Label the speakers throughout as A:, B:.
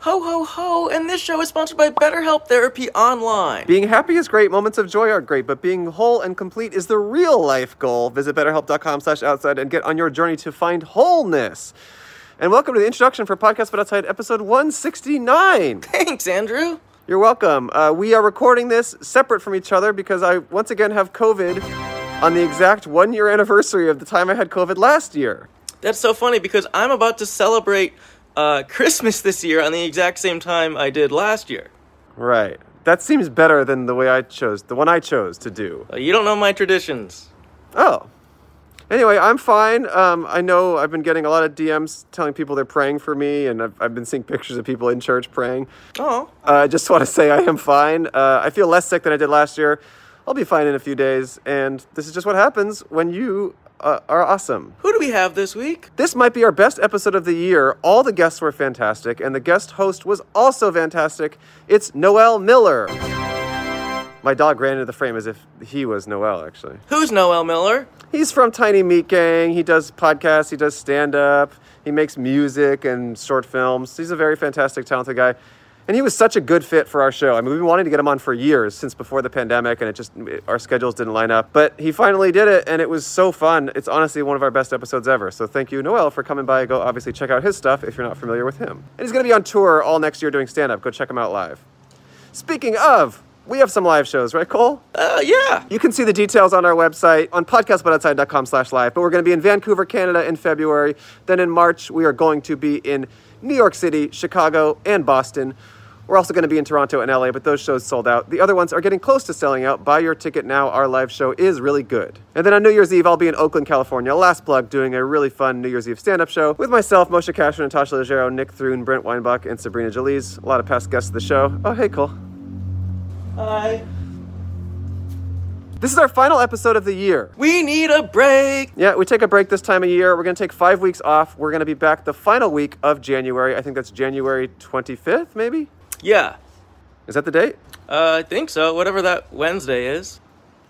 A: Ho, ho, ho! And this show is sponsored by BetterHelp Therapy Online.
B: Being happy is great, moments of joy are great, but being whole and complete is the real life goal. Visit betterhelp.com slash outside and get on your journey to find wholeness. And welcome to the introduction for Podcast But Outside, episode 169.
A: Thanks, Andrew.
B: You're welcome. Uh, we are recording this separate from each other because I once again have COVID on the exact one year anniversary of the time I had COVID last year.
A: That's so funny because I'm about to celebrate uh, Christmas this year on the exact same time I did last year.
B: Right. That seems better than the way I chose, the one I chose to do.
A: Uh, you don't know my traditions.
B: Oh. Anyway, I'm fine. Um, I know I've been getting a lot of DMs telling people they're praying for me, and I've, I've been seeing pictures of people in church praying.
A: Oh,
B: Uh, I just want to say I am fine. Uh, I feel less sick than I did last year. I'll be fine in a few days, and this is just what happens when you uh, are awesome.
A: who do we have this week?
B: This might be our best episode of the year. All the guests were fantastic, and the guest host was also fantastic. It's Noel Miller. My dog ran into the frame as if he was Noel, actually.
A: Who's Noel Miller?
B: He's from Tiny Meat Gang. He does podcasts, he does stand up, he makes music and short films. He's a very fantastic, talented guy. And he was such a good fit for our show. I mean, we've been wanting to get him on for years since before the pandemic, and it just, our schedules didn't line up. But he finally did it, and it was so fun. It's honestly one of our best episodes ever. So thank you, Noel, for coming by. Go obviously check out his stuff if you're not familiar with him. And he's going to be on tour all next year doing stand up. Go check him out live. Speaking of, we have some live shows, right, Cole?
A: Uh, yeah.
B: You can see the details on our website on podcastbutoutside.com slash live. But we're going to be in Vancouver, Canada in February. Then in March, we are going to be in New York City, Chicago, and Boston. We're also going to be in Toronto and LA, but those shows sold out. The other ones are getting close to selling out. Buy your ticket now. Our live show is really good. And then on New Year's Eve, I'll be in Oakland, California, last plug, doing a really fun New Year's Eve stand up show with myself, Moshe Kasher, Natasha Leggero, Nick Thrun, Brent Weinbach, and Sabrina Jalise. A lot of past guests of the show. Oh, hey, Cole.
A: Hi.
B: This is our final episode of the year.
A: We need a break.
B: Yeah, we take a break this time of year. We're going to take five weeks off. We're going to be back the final week of January. I think that's January 25th, maybe?
A: Yeah.
B: Is that the date?
A: Uh, I think so. Whatever that Wednesday is.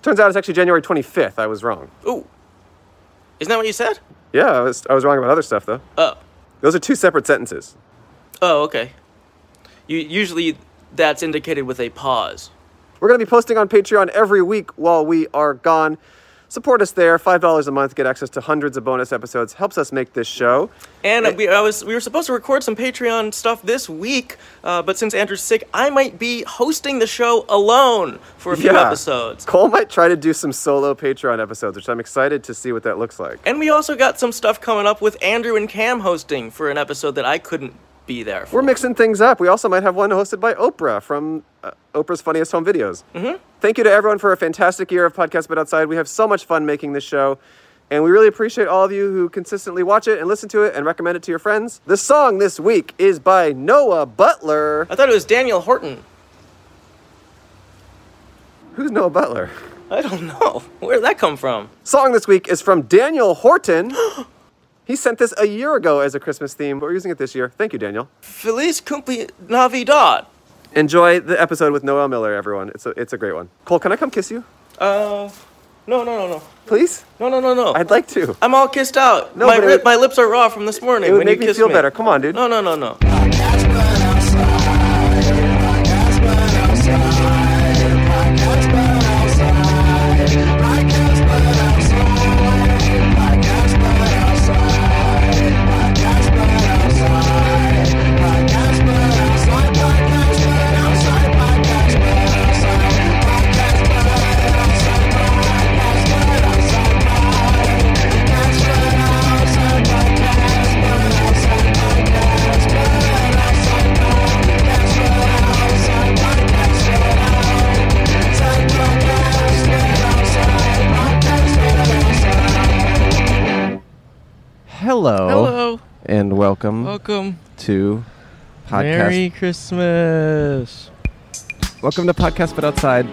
B: Turns out it's actually January 25th. I was wrong.
A: Ooh. Isn't that what you said?
B: Yeah, I was, I was wrong about other stuff, though.
A: Oh.
B: Those are two separate sentences.
A: Oh, okay. You usually that's indicated with a pause.
B: We're going to be posting on Patreon every week while we are gone. Support us there. $5 a month, get access to hundreds of bonus episodes, helps us make this show.
A: And we I was we were supposed to record some Patreon stuff this week, uh, but since Andrew's sick, I might be hosting the show alone for a few episodes.
B: Cole might try to do some solo Patreon episodes, which I'm excited to see what that looks like.
A: And we also got some stuff coming up with Andrew and Cam hosting for an episode that I couldn't be there for.
B: We're mixing things up. We also might have one hosted by Oprah from uh, Oprah's Funniest Home Videos. Mm-hmm. Thank you to everyone for a fantastic year of Podcast But Outside. We have so much fun making this show, and we really appreciate all of you who consistently watch it and listen to it and recommend it to your friends. The song this week is by Noah Butler.
A: I thought it was Daniel Horton.
B: Who's Noah Butler?
A: I don't know. Where did that come from?
B: Song this week is from Daniel Horton. he sent this a year ago as a Christmas theme, but we're using it this year. Thank you, Daniel.
A: Feliz cumple Navidad.
B: Enjoy the episode with Noel Miller, everyone. It's a, it's a great one. Cole, can I come kiss you?
A: Uh, no, no, no, no.
B: Please?
A: No, no, no, no.
B: I'd like to.
A: I'm all kissed out.
B: No,
A: my,
B: but it
A: ri-
B: would-
A: my lips are raw from this morning.
B: It would
A: when
B: make
A: you
B: me
A: kiss
B: feel better. Come on, dude.
A: No, no, no, no.
C: Hello.
A: Hello.
C: And welcome
A: Welcome.
C: to podcast.
A: Merry Christmas.
C: Welcome to Podcast But Outside.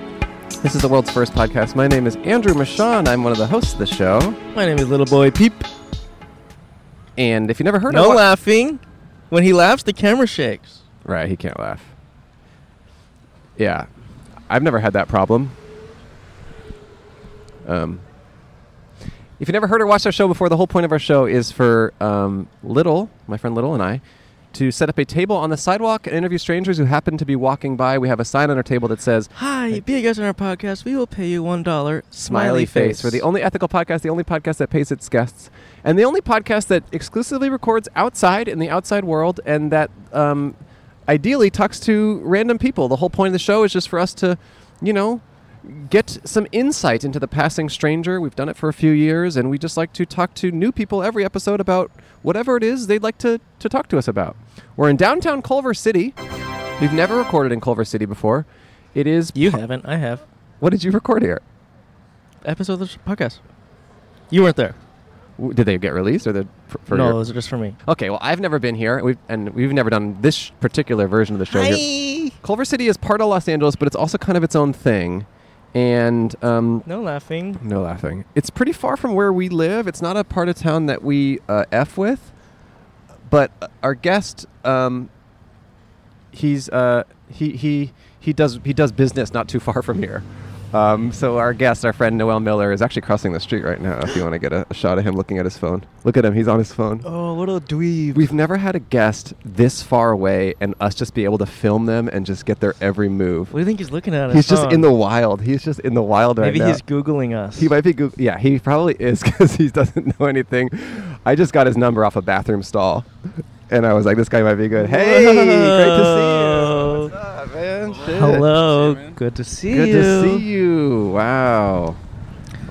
C: This is the world's first podcast. My name is Andrew Michon. I'm one of the hosts of the show.
A: My name is Little Boy Peep.
C: And if you never heard
A: No
C: of what-
A: laughing. When he laughs, the camera shakes.
C: Right, he can't laugh. Yeah. I've never had that problem. Um, if you never heard or watched our show before, the whole point of our show is for um, Little, my friend Little, and I
B: to set up a table on the sidewalk and interview strangers who happen to be walking by. We have a sign on our table that says
A: Hi, be a guest on our podcast. We will pay you one dollar.
B: Smiley Face. We're the only ethical podcast, the only podcast that pays its guests, and the only podcast that exclusively records outside in the outside world, and that um, ideally talks to random people. The whole point of the show is just for us to, you know, get some insight into the passing stranger. We've done it for a few years, and we just like to talk to new people every episode about whatever it is they'd like to, to talk to us about. We're in downtown Culver City. We've never recorded in Culver City before. It is.
A: You haven't. I have.
B: What did you record here?
A: Episode of the podcast. You weren't there.
B: W- Did they get released or the? For, for
A: no,
B: your-
A: it was just for me.
B: Okay, well, I've never been here, we've, and we've never done this sh- particular version of the show here. Culver City is part of Los Angeles, but it's also kind of its own thing. And um,
A: No laughing.
B: no laughing. It's pretty far from where we live. It's not a part of town that we uh, f with. But uh, our guest, um, he's uh, he he he does he does business not too far from here. Um, so our guest, our friend Noel Miller, is actually crossing the street right now. If you want to get a, a shot of him looking at his phone, look at him. He's on his phone.
A: Oh, what a dweeb.
B: We've never had a guest this far away and us just be able to film them and just get their every move.
A: What do you think he's looking at? on his
B: He's just
A: phone?
B: in the wild. He's just in the wild right
A: Maybe
B: now.
A: he's googling us.
B: He might be Google. Yeah, he probably is because he doesn't know anything. I just got his number off a bathroom stall, and I was like, "This guy might be good." Hey, great to see you.
A: Whoa.
B: What's up, man? Shit.
A: Hello.
C: Good to see you, man.
A: Good to see
B: Good
A: you.
B: to see you. Wow.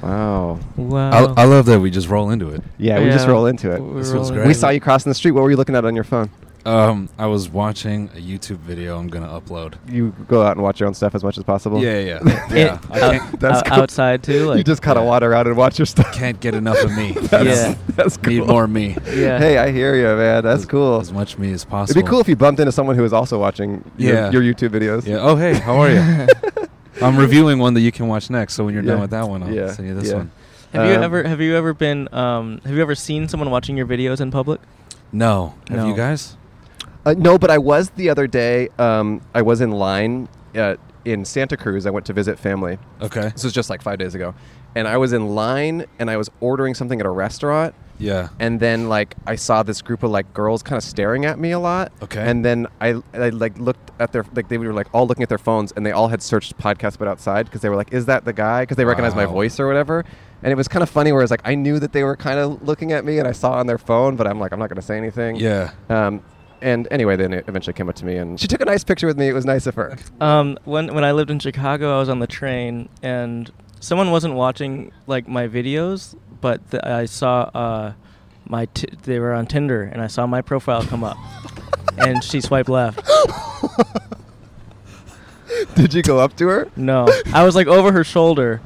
B: Wow.
C: I,
A: Wow.
C: I love that we just roll into it.
B: Yeah, we just
A: Yeah.
B: roll into it.
A: We're
C: This feels
A: rolling.
C: great.
B: We saw you crossing the street. What were you looking at on your phone?
C: Um, I was watching a YouTube video I'm gonna upload.
B: You go out and watch your own stuff as much as possible.
C: Yeah, yeah, yeah. yeah. I
A: Out-
C: can't,
B: That's
A: out-
B: cool.
A: outside too. Like,
B: you just kind of water out and watch your stuff.
C: can't get enough of me.
A: Yeah.
B: That's cool.
C: Need more me.
A: yeah.
B: Hey, I hear you, man. That's cool.
C: As much me as possible.
B: It'd be cool if you bumped into someone who was also watching
C: Yeah.
B: your, your YouTube videos.
C: Yeah. Oh, hey, how are you? I'm reviewing one that you can watch next. So when you're
B: Yeah.
C: done with that one, I'll
B: Yeah,
C: send you this
B: yeah.
C: one.
A: Have you
B: Um,
A: ever have you ever been um have you ever seen someone watching your videos in public?
C: No, have
A: No.
C: you guys?
B: Uh, no, but I was the other day. Um, I was in line uh, in Santa Cruz. I went to visit family.
C: Okay.
B: This was just like five days ago, and I was in line and I was ordering something at a restaurant.
C: Yeah.
B: And then like I saw this group of like girls kind of staring at me a lot.
C: Okay.
B: And then I, I like looked at their like they were like all looking at their phones and they all had searched podcast but outside because they were like is that the guy because they recognized my
C: Wow.
B: voice or whatever. And it was kind of funny where it was like I knew that they were kind of looking at me and I saw on their phone but I'm like I'm not going to say anything.
C: Yeah.
B: Um, and anyway, then it eventually came up to me, and she took a nice picture with me. It was nice of her.
A: Um, when when I lived in Chicago, I was on the train and someone wasn't watching like my videos, but th- I saw uh, my t- they were on Tinder and I saw my profile come up, and she swiped left.
B: Did you go up to her?
A: No, I was like over her shoulder,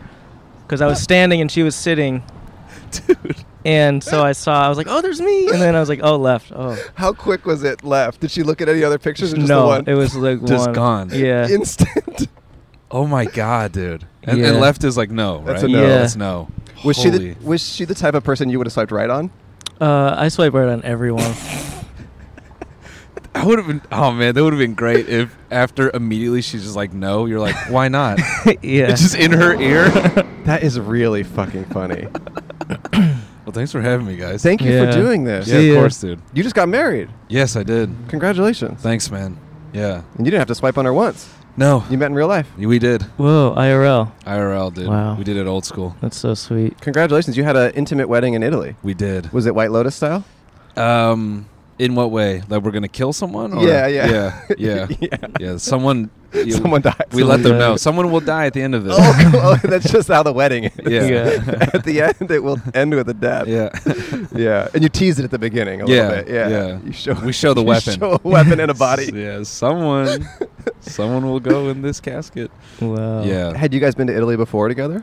A: because I was standing and she was sitting.
B: Dude,
A: And so I saw, I was like, "Oh, there's me," and then I was like, "Oh, left." Oh,
B: how quick was it left? Did she look at any other pictures or just the
A: no,
B: one?
A: it was like
C: Just
A: one.
C: gone.
A: Yeah,
B: instant.
C: Oh my God, dude. And,
A: Yeah.
C: and left is like no,
B: That's
C: right?
B: a no.
A: Yeah.
C: That's no.
B: Was she
C: Holy
B: the, was she the type of person you would have swiped right on?
A: uh, I swipe right on everyone.
C: I would have been. Oh man, that would have been great if after immediately she's just like, "No," you're like, "Why not?"
A: yeah.
C: It's just in her ear.
B: That is really fucking funny.
C: well, thanks for having me, guys.
B: Thank you
A: Yeah.
B: for doing this.
C: Yeah,
A: See
C: of
A: ya.
C: course, dude.
B: You just got married.
C: Yes, I did.
B: Congratulations.
C: Thanks, man. Yeah.
B: And you didn't have to swipe on her once.
C: No,
B: You met in real life.
C: we did.
A: Whoa, IRL.
C: IRL, dude.
A: Wow.
C: We did it old school.
A: That's so sweet.
B: Congratulations. You had an intimate wedding in Italy.
C: We did.
B: Was it White Lotus style?
C: Um, in what way? Like we're gonna kill someone? Or?
B: Oh, Yeah, yeah.
C: yeah, yeah,
B: Yeah.
C: yeah. Someone. you-
B: Someone died.
C: We let them
A: died.
C: know. Someone will die at the end of this.
B: oh, cool. Oh, that's just how the wedding is.
C: Yeah.
A: Yeah.
B: at the end, it will end with a death.
C: yeah.
B: Yeah. And you tease it at the beginning a
C: Yeah,
B: little bit. Yeah.
C: yeah.
B: You show,
C: We show the
B: you
C: weapon.
B: show a weapon and a body.
C: yeah. Someone. someone will go in this casket.
B: Oh.
A: Wow.
C: Yeah.
B: Had you guys been to Italy before together?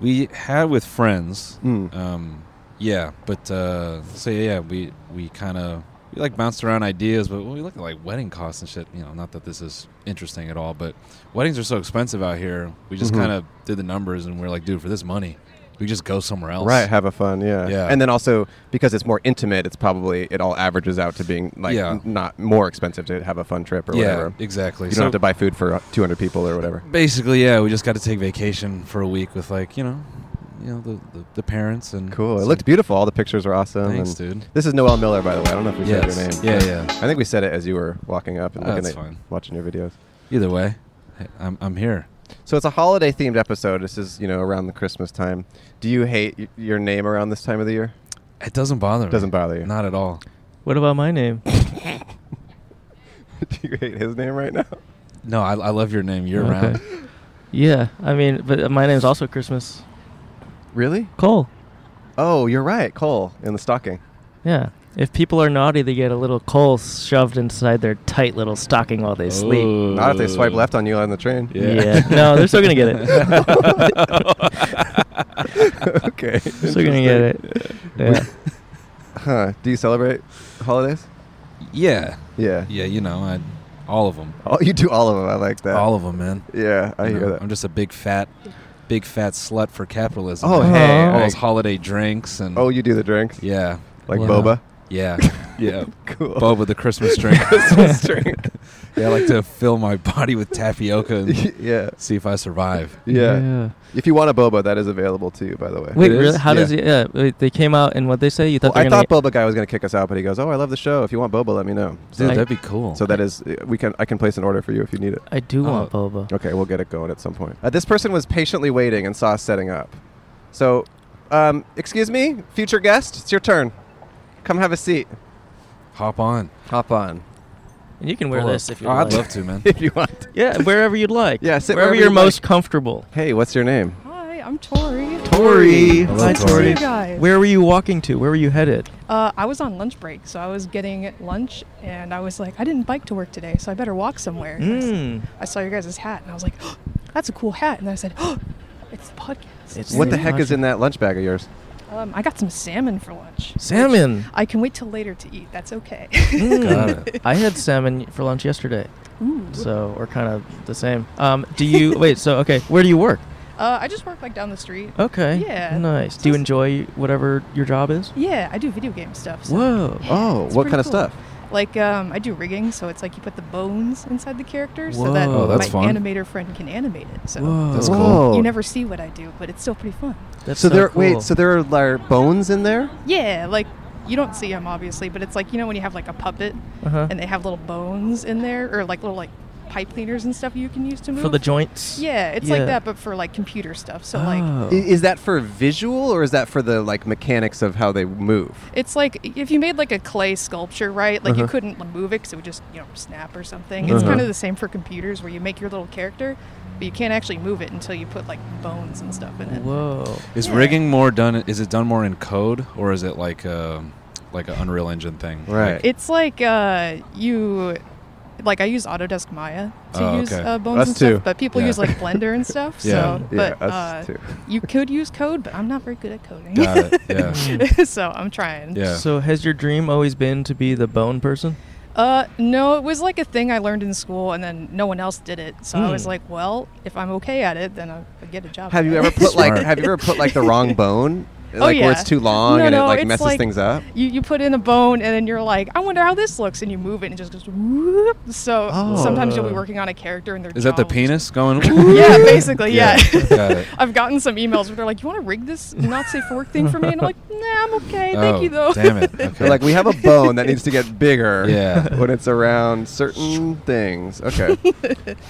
C: We had with friends.
B: Mm.
C: Um, yeah, but uh, so yeah, we we kind of we like bounced around ideas, but when we look at like wedding costs and shit, you know, not that this is interesting at all, but weddings are so expensive out here. We just
B: Mhm.
C: kind of did the numbers, and we're like, dude, for this money, we just go somewhere else.
B: Right. Have a fun. Yeah.
C: Yeah.
B: And then also because it's more intimate, it's probably it all averages out to being like
C: Yeah.
B: n- not more expensive to have a fun trip or
C: yeah. Mm-hmm.
B: whatever.
C: Exactly.
B: You don't have to buy food for uh, 200 people or whatever.
C: basically, yeah, we just got to take vacation for a week with like you know you know the, the, the parents and
B: Cool. It
C: so-
B: looked beautiful. All the pictures were awesome.
C: Thanks,
B: and-
C: dude.
B: This is Noel Miller, by the way. I don't know if we
C: Yes.
B: said your name.
C: Yeah,
B: but
C: yeah.
B: I think we said it as you were walking up and
C: Oh,
B: looking
C: that's
B: at
C: fine.
B: watching your videos.
C: Either way, hey, I'm I'm here.
B: So it's a holiday themed episode. This is you know around the Christmas time. Do you hate y- your name around this time of the year?
C: It doesn't bother me.
B: Doesn't bother you.
C: Not at all.
A: What about my name?
B: Do you hate his name right now?
C: No, I, I love your name year
A: Okay.
C: round.
A: yeah, I mean, but my name's also Christmas.
B: Really?
A: Cole.
B: Oh, you're right. Cole in the stocking.
A: Yeah. If people are naughty, they get a little coal shoved inside their tight little stocking while they
C: Oh,
A: sleep.
B: Not if they swipe left on you on the train.
C: Uh, Yeah.
A: Yeah. No, they're still gonna get
B: it. Okay.
A: So you're gonna get it. Yeah.
B: Huh. Do you celebrate holidays?
C: Yeah.
B: Yeah.
C: Yeah. You know, I all of them.
B: Oh, you do all of them. I like that.
C: All of them, man.
B: Yeah, I
C: You
B: hear
C: know,
B: that.
C: I'm just a big fat, big fat slut for capitalism.
B: Oh,
C: man.
B: hey.
A: Aw.
C: all
B: I-
C: those holiday drinks and
B: oh, you do the drinks?
C: yeah,
B: Like
A: Wow.
B: boba?
C: yeah, yeah.
B: Cool.
C: Boba the Christmas drink.
B: Christmas drink.
C: yeah, I like to fill my body with tapioca and
B: yeah.
C: see if I survive.
B: Yeah. If you want a boba, that is available to you, by the way.
A: Wait,
C: It is?
A: really? How does
C: Yeah.
A: it? Yeah, wait, they came out and what they say? You thought
B: Well, Oh, I
A: they were
B: thought
A: gonna
B: Boba guy was going to kick us out, but he goes, "Oh, I love the show. If you want boba, let me know." So,
C: Dude,
A: I-
C: that'd be cool.
B: so that is we can I can place an order for you if you need it.
A: get- I do
C: Oh.
A: want boba.
B: Okay, we'll get it going at some point. Uh, this person was patiently waiting and saw us setting up. So, um, excuse me, future guest, it's your turn. Come have a seat.
C: hop on.
B: Hop on
A: And you can wear
C: Pull up.
A: this if you
C: oh,
A: like.
C: I'd love to, man.
B: if you want.
A: Yeah, wherever you'd like.
B: Yeah, sit
A: wherever,
B: wherever
A: you're
B: you'd
A: most comfortable.
B: Hey, what's your name?
D: Hi, I'm Tori.
B: Tori.
C: Hello,
D: Nice to see
C: Tori.
D: you guys.
A: Where were you walking to? Where were you headed?
D: Uh, I was on lunch break, so I was getting lunch, and I was like, I didn't bike to work today, so I better walk somewhere. And I s-
A: Mm.
D: I saw your guys' hat, and I was like, oh, that's a cool hat. And I said, oh, it's the podcast.
A: It's-
B: What the heck is in that lunch bag of yours?
D: um, I got some salmon for lunch. which
A: Salmon. Mm.
D: I can wait till later to eat. That's okay.
C: Got it.
A: I had salmon for lunch yesterday,
D: Ooh.
A: so we're kind of the same. Um, do you wait? So okay, where do you work?
D: Uh, I just work like down the street.
A: Okay.
D: Yeah.
A: Nice. Do you
D: Just-
A: enjoy whatever your job is?
D: Yeah, I do video game stuff. So.
A: Whoa.
B: Oh,
D: It's
B: what
D: pretty
B: kind of
D: cool.
B: stuff?
D: Like um, I do rigging, so it's like you put the bones inside the characters, so that
A: Whoa. Oh,
C: that's
D: my
C: fun.
D: animator friend can animate it. So
A: Whoa.
C: That's cool.
B: Whoa.
D: you never see what I do, but it's still pretty fun.
A: That's
B: so there.
A: cool.
B: Wait. So there are like, bones in there.
D: Yeah, like you don't see them obviously, but it's like you know when you have like a puppet
A: Uh-huh.
D: and they have little bones in there or like little like pipe cleaners and stuff you can use to move.
A: for the joints.
D: yeah, it's like
A: Yeah.
D: that, but for like computer stuff. So
C: Ah.
D: like
A: Oh.
B: I- Is that for visual or is that for the like mechanics of how they move?
D: it's like if you made like a clay sculpture, right? Like you
B: Uh-huh.
D: couldn't move it because it would just you know snap or something. It's
B: Uh-huh.
D: kind of the same for computers where you make your little character, but you can't actually move it until you put like bones and stuff in it.
A: Whoa.
C: Is
D: Yeah.
C: rigging more done? Is it done more in code or is it like a like an Unreal Engine thing?
B: Right.
C: Like,
D: It's like uh, you, like I use Autodesk Maya to
C: Oh,
D: use
C: okay.
D: uh, bones
B: Us
D: and stuff,
B: too.
D: but people
C: Yeah.
D: use like Blender and stuff.
C: Yeah.
D: So,
B: Yeah,
D: but
B: us
D: uh,
B: too.
D: you could use code, but I'm not very good at coding.
C: got it. Yeah.
D: so I'm trying.
C: Yeah.
A: So has your dream always been to be the bone person?
D: Uh, no, it was like a thing I learned in school, and then no one else did it. So I was
A: Hmm.
D: like, well, if I'm okay at it, then I I get a job.
B: Have you
D: at
B: ever
D: it.
B: put like
C: Smart.
B: Have you ever put like the wrong bone? Like where
D: Oh, yeah.
B: it's too long
D: No,
B: and it
D: no,
B: like
D: it's
B: messes
D: like-
B: things up.
D: you, you put in a bone and then you're like, I wonder how this looks, and you move it and it just goes whoop. So
B: Oh.
D: sometimes you'll be working on a character and they're
C: Is that the penis going?
D: yeah, basically,
C: Yeah,
D: yeah.
C: got it.
D: I've gotten some emails where they're like, "You want to rig this not safe for work thing for me?" And I'm like, "Nah, I'm okay. Thank
C: Oh,
D: you though."
C: Damn it. Okay.
B: They're like we have a bone that needs to get bigger.
C: Yeah.
B: When it's around certain things. Okay.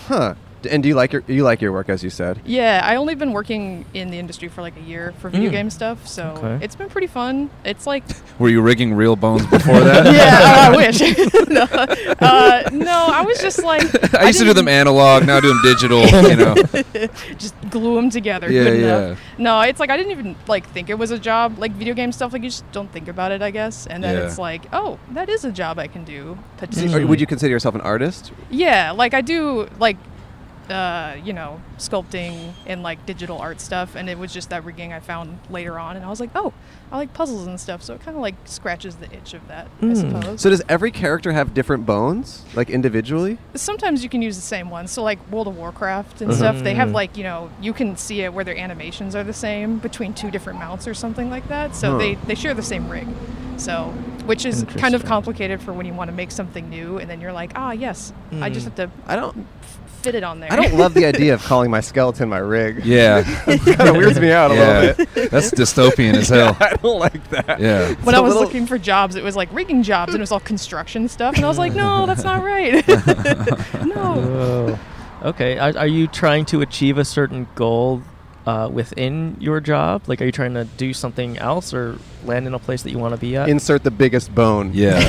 B: huh. D- And do you like your you like your work as you said?
D: yeah, I only been working in the industry for like a year for video
C: Hmm.
A: Mm.
D: game stuff, so
A: Okay.
D: it's been pretty fun. It's like,
C: Were you rigging real bones before that?
D: yeah, oh, I, I wish. no, uh, no, I was just like,
C: I used to do
D: didn't-
C: them analog. Now I do them digital. You know.
D: just glue them together.
C: Yeah,
D: good
C: yeah.
D: Enough. No, it's like I didn't even like think it was a job. Like video game stuff, like you just don't think about it, I guess. And then
C: Yeah.
D: it's like, oh, that is a job I can do.
B: Or
D: Potentially.
B: would you consider yourself an artist?
D: Yeah, like I do like uh, you know, sculpting and like digital art stuff and it was just that rigging I found later on and I was like, "Oh, I like puzzles and stuff." So it kind of like scratches the itch of that, I
A: Mm.
D: suppose.
B: Hmm. So does every character have different bones, like individually?
D: Sometimes you can use the same ones. So like World of Warcraft
B: Uh-huh.
D: and stuff, they
B: Hmm.
D: have like, you know, you can see it where their animations are the same between two different mounts or something like that. So
B: Huh.
D: they they share the same rig. So which is kind of
A: Interesting.
D: complicated for when you want to make something new, and then you're like, ah, yes, I just have to uh,
B: I don't.
D: f- fit it on there.
B: Hmm. I don't love the idea of calling my skeleton my rig.
C: Yeah,
B: kind of weirds me out a
C: yeah.
B: little bit.
C: That's dystopian as hell.
B: I don't like that.
C: Yeah.
B: It's
D: when I
B: a
D: was
B: little-
D: looking for jobs, it was like rigging jobs, and it was all construction stuff, and I was like, no, that's not right. no.
A: Whoa. okay. Are, are you trying to achieve a certain goal uh, within your job? Like, are you trying to do something else or land in a place that you want to be at?
B: Insert the biggest bone.
C: Yeah.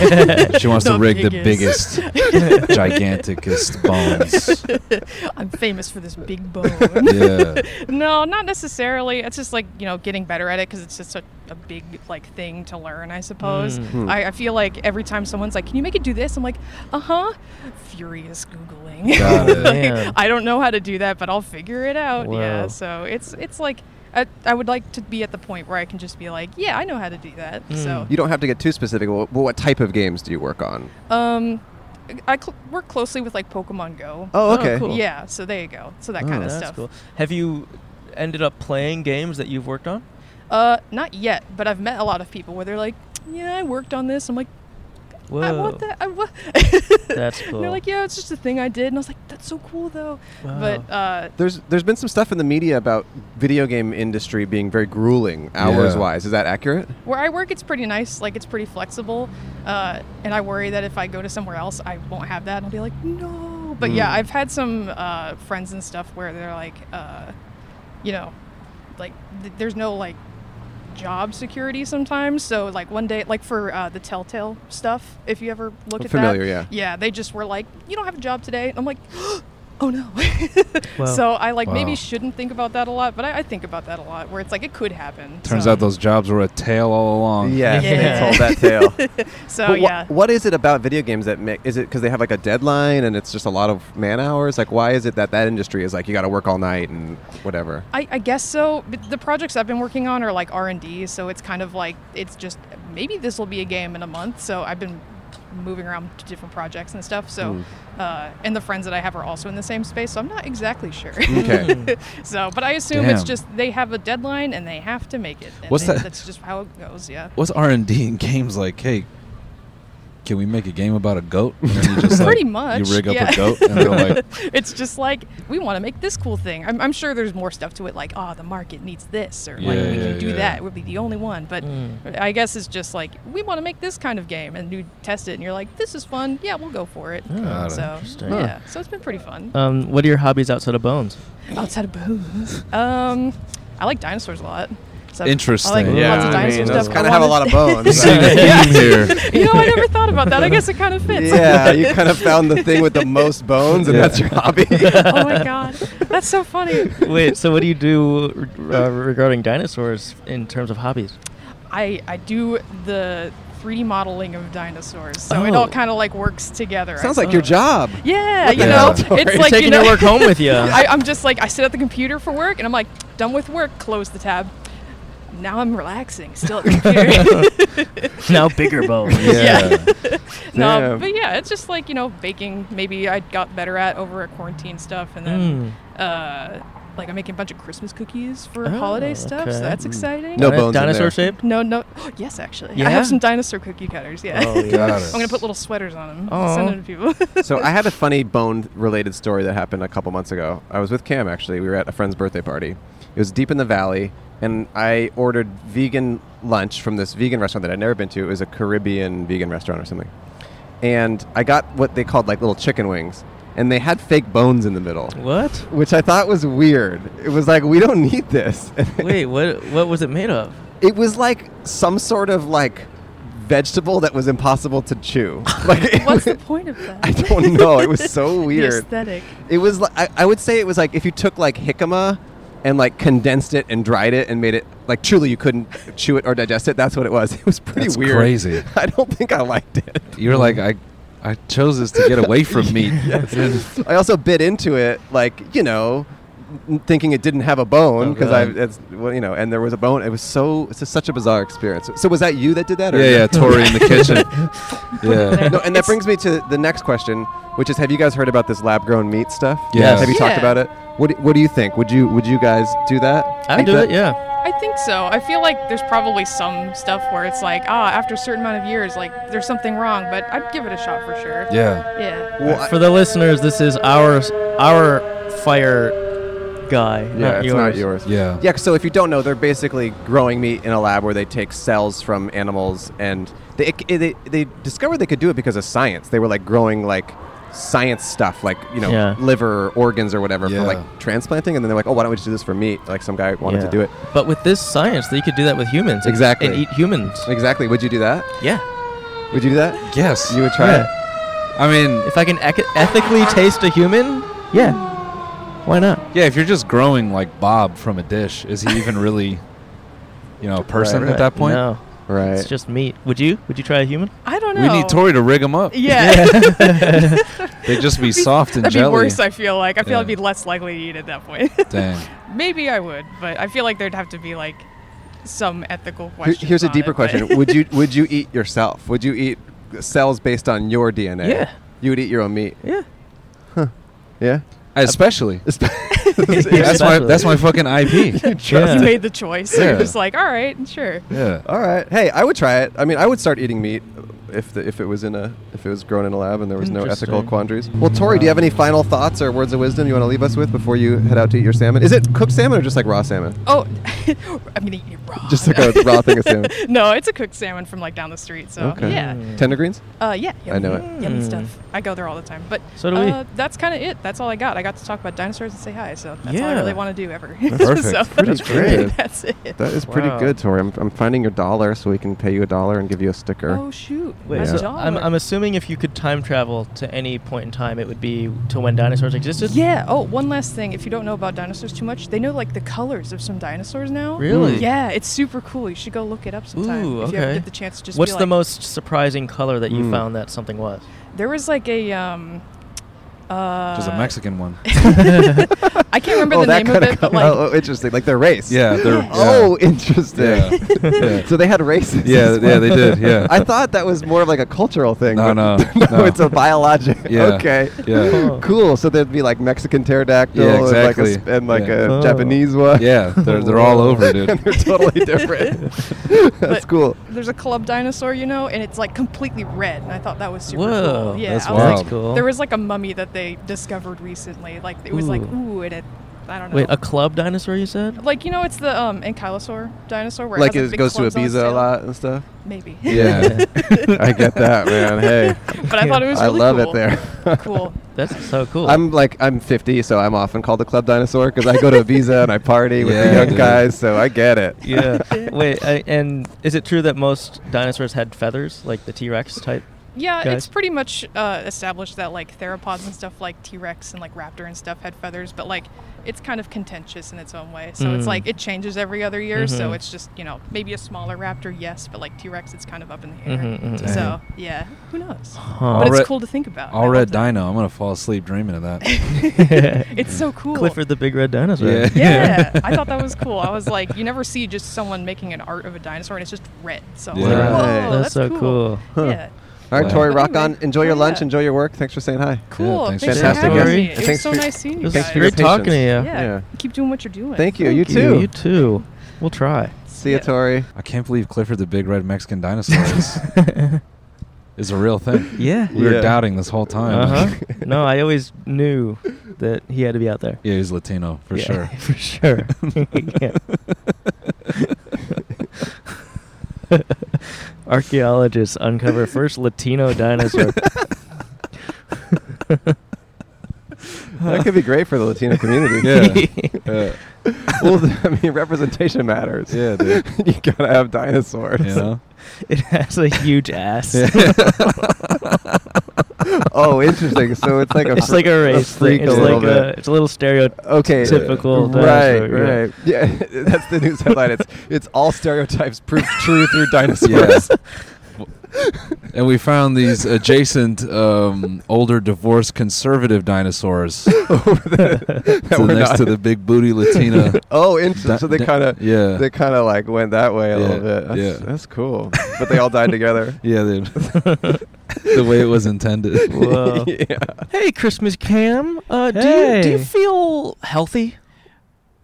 C: she wants to
D: The
C: rig
D: biggest.
C: the biggest, giganticest bones.
D: I'm famous for this big bone.
C: Yeah.
D: no, not necessarily. It's just like you know, getting better at it because it's just a, a big like thing to learn. I suppose.
A: Mhm.
D: I, I feel like every time someone's like, "Can you make it do this?" I'm like, "Uh huh." Furious googling.
C: Got it.
D: Like,
A: Man.
D: I don't know how to do that, but I'll figure it out.
A: Wow.
D: Yeah. So it's it's like I, I would like to be at the point where I can just be like, "Yeah, I know how to do that." So
B: You don't have to get too specific. Well, what type of games do you work on?
D: um, I cl- work closely with like Pokemon Go.
B: Oh, okay.
A: cool.
D: Yeah. So there you go. So that
B: Oh,
D: kind of
A: That's
D: stuff.
A: cool. Have you ended up playing games that you've worked on?
D: Uh, not yet, but I've met a lot of people where they're like, "Yeah, I worked on this." I'm like,
A: Whoa.
D: "I want that." I wa-"
A: That's
D: And
A: cool.
D: they're like, "Yeah, it's just a thing I did," and I was like, "That's so cool, though." But uh,
B: There's there's been some stuff in the media about video game industry being very grueling hours wise. Is that accurate?
D: where I work, it's pretty nice. Like, it's pretty flexible. Uh, and I worry that if I go to somewhere else, I won't have that. And I'll be like, "No." But yeah,
B: Mm.
D: I've had some uh, friends and stuff where they're like, uh, you know, like th- there's no like job security sometimes. So like one day, like for uh, the Telltale stuff, if you ever look at
B: Familiar,
D: that,
B: yeah.
D: yeah, they just were like, you don't have a job today. And I'm like, oh no.
A: Wow.
D: So I like
C: Wow.
D: maybe shouldn't think about that a lot, but I, I think about that a lot. Where it's like it could happen.
C: Turns
D: so,
C: out those jobs were a tale all along.
D: Yeah.
B: they told that tale.
D: So
B: But wha-
D: yeah.
B: what is it about video games that make? Is it because they have like a deadline and it's just a lot of man hours? Like, why is it that that industry is like you got to work all night and whatever?
D: I, I guess so. But the projects I've been working on are like R and D, so it's kind of like it's just maybe this will be a game in a month. So I've been moving around to different projects and stuff. So,
C: Hmm.
D: uh, and the friends that I have are also in the same space. So I'm not exactly sure.
B: Okay.
D: so, but I assume it's
C: Hmm. Damn.
D: just they have a deadline and they have to make it. And
C: What's
D: they-
C: that-
D: That's just how it goes. Yeah.
C: What's R and D in games like? Hey, can we make a game about a goat? And then you just, like,
D: Pretty much,
C: You rig up
D: yeah.
C: a goat, and they're like,
D: it's just like we want to make this cool thing. I'm, I'm sure there's more stuff to it, like oh, the market needs this, or like
C: Yeah,
D: we can
C: yeah,
D: do
C: yeah.
D: that. We'll be the only one. But
B: Mm.
D: I guess it's just like we want to make this kind of game, and you test it, and you're like, this is fun. Yeah, we'll go for it.
B: Ah,
C: Got it.
D: so
A: Interesting.
D: yeah, so it's been pretty fun.
A: Um, what are your hobbies outside of bones?
D: Uh, Outside of booze, um, I like dinosaurs a lot. So I like
C: Interesting.
D: lots
C: Yeah,
D: of
C: I
D: dinosaur
C: mean,
D: stuff.
C: those
D: I
B: kind of have a
D: wanted-
B: lot of bones.
C: see the theme here.
D: you know, I never thought about that. I guess it kind of fits.
B: yeah, you kind of found the thing with the most bones, and
C: Yeah.
B: that's your hobby.
D: oh my god, that's so funny.
A: Wait, so what do you do uh, regarding dinosaurs in terms of hobbies?
D: I, I do the 3D modeling of dinosaurs, so it
A: Oh.
D: all kind of like works together. I
B: Sounds like your job.
D: suppose. yeah,
B: What
D: you
B: the
D: know,
B: hell?
D: it's
B: Sorry. You're
D: like
A: taking
D: you know,
A: your work home with you.
D: I, I'm just like I sit at the computer for work, and I'm like done with work, close the tab. Now I'm relaxing, still at the computer.
A: now bigger bones.
C: yeah.
D: no,
B: Damn.
D: but yeah, it's just like you know baking. Maybe I got better at over at quarantine stuff, and then uh, like I'm making a bunch of Christmas cookies for
A: Hmm. Oh,
D: holiday stuff,
A: okay.
D: so that's
A: Mm.
D: exciting.
B: No bones in
A: Dinosaur
B: there.
A: shaped?
D: No, no. yes, actually, I
A: Yeah?
D: have some dinosaur cookie cutters. Yeah.
B: Oh,
C: Got it.
D: I'm gonna put little sweaters on them.
A: Aw.
D: Send them to people.
B: so I had a funny bone related story that happened a couple months ago. I was with Cam actually. We were at a friend's birthday party. It was deep in the valley, and I ordered vegan lunch from this vegan restaurant that I'd never been to. It was a Caribbean vegan restaurant or something. And I got what they called like little chicken wings, and they had fake bones in the middle,
A: What?
B: which I thought was weird. It was like we don't need this.
A: Wait, what? What was it made of?
B: It was like some sort of like vegetable that was impossible to chew. Like it
D: What's the
B: was-
D: point of that?
B: I don't know. It was so weird.
D: The aesthetic.
B: It was. Like, I, I would say it was like if you took like jicama and like condensed it and dried it and made it like truly you couldn't chew it or digest it. That's what it was. It was pretty
C: That's
B: weird.
C: crazy.
B: I don't think I liked it.
C: You're like, I, I chose this to get away from meat.
B: I also bit into it like you know n- thinking it didn't have a bone
C: Oh,
B: because I,
C: God.
B: that's, well, you know, and there was a bone. It was so, it's just such a bizarre experience. So was that you that did that? Or
C: Yeah, yeah, Tori in the kitchen. Yeah.
B: No, and that brings me to the next question, which is: Have you guys heard about this lab-grown meat stuff?
C: Yes.
B: Have you talked
D: Yeah.
B: about it? What do, What do you think? Would you Would you guys do that?
A: I would
B: Eat
A: do it.
B: that?
A: Yeah.
D: I think so. I feel like there's probably some stuff where it's like, ah, after a certain amount of years, like there's something wrong, but I'd give it a shot for sure.
C: Yeah.
D: Yeah.
B: Well, I-
A: For the listeners, this is our our fire guy.
B: yeah, it's not yours.
C: Yeah.
B: Yeah, so if you don't know, they're basically growing meat in a lab where they take cells from animals, and they it, they, they discovered they could do it because of science. They were like growing like science stuff, like you know
A: Yeah.
B: liver, or organs, or whatever
C: Yeah.
B: for like transplanting, and then they're like, oh, why don't we just do this for meat? Like some guy wanted
A: Yeah.
B: to do it.
A: But with this science, you could do that with humans. and-
B: Exactly.
A: And eat humans.
B: Exactly. Would you do that?
A: Yeah.
B: Would you do that?
C: Yes.
B: You would try
A: Yeah.
B: it.
C: I mean,
A: If I can ec- ethically taste a human, yeah. Why not?
C: yeah, if you're just growing like Bob from a dish, is he even really, you know, a person
B: Right, right.
C: at that point?
A: No.
B: Right.
A: It's just meat. Would you? Would you try a human?
D: I don't know.
C: We need Tori to rig him up.
D: Yeah.
C: They'd just be soft and
D: That'd
C: jelly.
D: be worse, I feel like. I feel
C: Yeah.
D: I'd be less likely to eat at that point.
C: Dang.
D: Maybe I would, but I feel like there'd have to be like some ethical
B: Here-
D: question.
B: Here's a deeper question: Would you Would you eat yourself? Would you eat cells based on your DNA?
A: Yeah.
B: You would eat your own meat.
A: Yeah.
B: Yeah.
C: Especially. That's my
A: Especially.
C: that's my fucking IP.
D: you
A: Yeah.
D: made the choice.
C: Yeah.
D: You're just like, all right, sure.
C: yeah.
B: All right. Hey, I would try it. I mean, I would start eating meat if the, if it was in a if it was grown in a lab and there was no ethical
A: Interesting.
B: quandaries. Well, Tori, do you have any final thoughts or words of wisdom you want to leave us with before you head out to eat your salmon? Is it cooked salmon or just like raw salmon?
D: Oh, I'm gonna eat it raw.
B: Just like a raw thing of salmon.
D: no, it's a cooked salmon from like down the street. So
B: Okay.
D: yeah,
B: Tender greens.
D: uh, yeah, yummy,
B: I know it.
D: yummy
A: Mm.
D: stuff. I go there all the time. But
A: So do we.
D: Uh, that's kind of it. That's all I got. I got to talk about dinosaurs and say hi. So that's all I
A: Yeah.
D: really want to do ever.
C: Perfect.
D: so
C: That's
B: great.
D: That's it.
B: That is pretty
A: Wow.
B: good, Tori. I'm, I'm finding your dollar so we can pay you a dollar and give you a sticker.
D: Oh shoot!
A: Wait,
D: my
A: so
D: dollar.
A: I'm, I'm assuming if you could time travel to any point in time, it would be to when dinosaurs existed.
D: Yeah. Oh, one last thing. If you don't know about dinosaurs too much, they know like the colors of some dinosaurs now.
A: Really?
D: Yeah, it's super cool. You should go look it up sometime
A: Ooh,
D: if you ever
A: okay.
D: get the chance. To just
A: What's
D: be
A: the
D: like,
A: most surprising color that you
B: Mm.
A: found that something was?
D: There was like a um. Uh,
C: There's a Mexican one.
D: I can't remember
B: Oh,
D: the
B: that
D: name of
B: kind
D: it,
B: of
D: but
B: color.
D: like
B: oh, oh, interesting. Like their race.
C: Yeah, they're yeah.
B: Oh, interesting.
C: yeah. yeah.
B: so they had races.
C: Yeah,
B: as
C: th- yeah, they did, yeah.
B: I thought that was more of like a cultural thing.
C: No,
B: but
C: no, no.
B: it's a biologic.
C: Yeah.
B: Okay.
C: Yeah.
A: Huh.
B: Cool. So there'd be like Mexican pterodactyl
C: Yeah,
B: and like a,
C: exactly.
B: sp- and like
C: Yeah.
B: a
A: Oh.
B: Japanese one.
C: Yeah, they're they're all over,
B: and they're
C: dude.
B: totally different. That's
D: But-
B: cool.
D: there's a club dinosaur, you know, and it's like completely red, and I thought that was super
A: Whoa,
D: cool. Yeah,
C: that's
D: I was
C: wild.
D: like,
A: Cool.
D: there was like a mummy that they discovered recently. Like it was like
A: Ooh.
D: ooh, and it, I don't know.
A: Wait, a club dinosaur? You said?
D: like you know, it's the um ankylosaur dinosaur where
B: Like
D: it, has a
B: it
D: big
B: goes to
D: clubs on its
B: Ibiza a
D: tail.
B: lot and stuff.
D: Maybe.
C: Yeah.
B: I get that, man. Hey,
D: but I thought it was
B: I
D: really
B: love
D: cool.
B: it there.
D: cool.
A: That's so cool.
B: I'm like I'm 50, so I'm often called the club dinosaur because I go to Ibiza and I party with the
C: Yeah,
B: young
C: dude.
B: guys. So I get it.
A: yeah. Wait, I, and is it true that most dinosaurs had feathers, like the T Rex type?
D: Yeah,
A: Guys?
D: it's pretty much uh, established that like theropods and stuff like T Rex and like Raptor and stuff had feathers, but like it's kind of contentious in its own way. So
A: Mm.
D: it's like it changes every other year. So
A: Mhm.
D: it's just you know maybe a smaller raptor, yes, but like T Rex, it's kind of up in the air.
A: Mhm, mhm.
D: So yeah, who knows?
A: Huh.
D: But
C: All
D: it's
C: red-
D: cool to think about. I
C: All
D: love
C: red
D: that.
C: dino. I'm gonna fall asleep dreaming of that.
D: It's so cool.
A: Clifford the Big Red Dinosaur.
C: Yeah.
D: Yeah, I thought that was cool. I was like, you never see just someone making an art of a dinosaur and it's just red. So I was
C: Yeah.
D: like,
C: Right.
D: whoa,
A: That's so cool.
D: Yeah.
B: All right,
C: Wow.
B: Tori,
D: But
B: rock on.
D: anyway, Oh,
B: Enjoy your
D: yeah.
B: lunch. Enjoy your work. Thanks for saying hi.
D: Cool.
C: thanks
D: thanks
C: for
D: for
C: having
D: having
A: us.
D: me.
A: Thanks
D: It was so
B: for-
D: nice seeing
A: It
D: you
A: was
D: guys.
B: for your
A: great talking to you.
B: patience.
D: Yeah.
B: Yeah.
D: Keep doing what you're doing.
B: Thank you. You
A: Thank
B: too.
A: You, you too. We'll try.
B: See you,
D: Yeah.
B: Tori.
C: I can't believe Clifford the Big Red Mexican Dinosaur is,
A: Uh-huh.
C: is a real thing.
A: yeah.
C: We
B: Yeah.
C: were doubting this whole time.
A: Uh huh. no, I always knew that he had to be out there.
C: Yeah, he's Latino for
A: Yeah,
C: sure.
A: for sure. Yeah. Archaeologists uncover first Latino dinosaur.
B: That could be great for the Latino community.
C: Yeah. yeah.
B: well, I mean, representation matters.
C: Yeah, dude.
B: you gotta have dinosaurs.
C: You know?
A: it has a huge ass.
B: oh, interesting. So it's like a
A: It's
B: fr-
A: like a race
B: freak
A: thing. It's
B: a little
A: like a,
B: bit.
A: it's a little stereotypical.
B: Okay.
A: typical
B: Right,
A: dinosaur, yeah.
B: right. Yeah, that's the news headline. It's it's all stereotypes proved true through dinosaurs.
C: and we found these adjacent um, older divorced conservative dinosaurs
B: That
C: to
B: we're
C: next
B: not-
C: to the big booty Latina.
B: oh, interesting. So they
C: Di-
B: kind of
C: yeah.
B: they kind of like went that way a little
C: Yeah,
B: bit. That's,
C: yeah.
B: that's cool. But they all died together.
C: yeah, they, the way it was intended.
A: Whoa.
B: yeah.
A: Hey, Christmas Cam. Uh, do you do you
E: Hey.
A: feel healthy?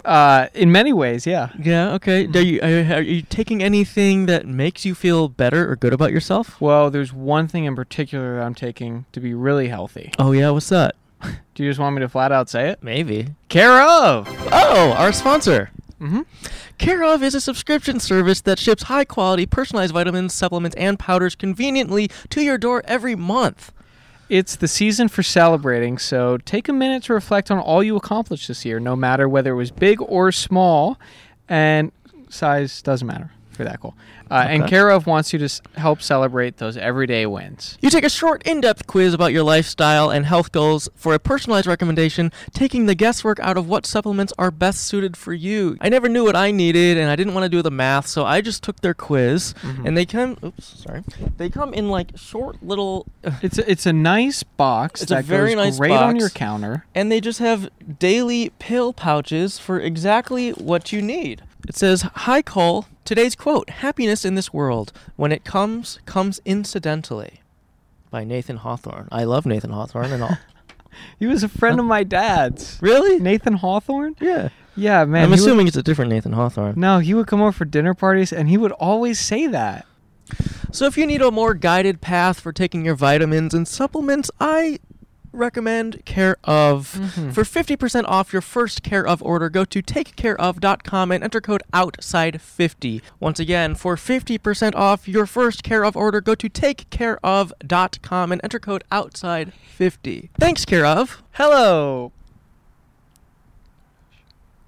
E: Uh, in many ways, yeah.
A: Yeah. Okay. Are you are, are you taking anything that makes you feel better or good about yourself?
E: Well, there's one thing in particular that I'm taking to be really healthy.
A: Oh yeah. What's that?
E: Do you just want me to flat out say it?
A: Maybe.
E: Care of.
A: Oh, our sponsor.
E: Mm-hmm.
A: Care of is a subscription service that ships high quality personalized vitamins, supplements, and powders conveniently to your door every month.
E: It's the season for celebrating, so take a minute to reflect on all you accomplished this year, no matter whether it was big or small, and size doesn't matter for that goal. Uh, And Care of wants you to s- help celebrate those everyday wins.
A: You take a short, in depth quiz about your lifestyle and health goals for a personalized recommendation, taking the guesswork out of what supplements are best suited for you. I never knew what I needed and I didn't want to do the math, so I just took their quiz and they come oops, sorry. They come in like short little
E: It's a, it's a nice box
A: It's a
E: that
A: very
E: goes
A: nice
E: great on
A: box.
E: your counter.
A: and they just have daily pill pouches for exactly what you need. It says, Hi, Cole. Today's quote Happiness in this world, when it comes, comes incidentally. By Nathan Hawthorne. I love Nathan Hawthorne and all.
E: He was a friend of my dad's.
A: really?
E: Nathan Hawthorne?
A: yeah.
E: Yeah, man.
A: I'm
E: he would-
A: assuming it's a different Nathan Hawthorne.
E: no, he would come over for dinner parties, and he would always say that.
A: So if you need a more guided path for taking your vitamins and supplements, I recommend Care of.
E: Mhm.
A: For 50% off your first Care of order, go to takecareof.com and enter code OUTSIDE50. Once again, for 50% off your first Care of order, go to takecareof.com and enter code OUTSIDE50. Thanks, Care of.
E: Hello.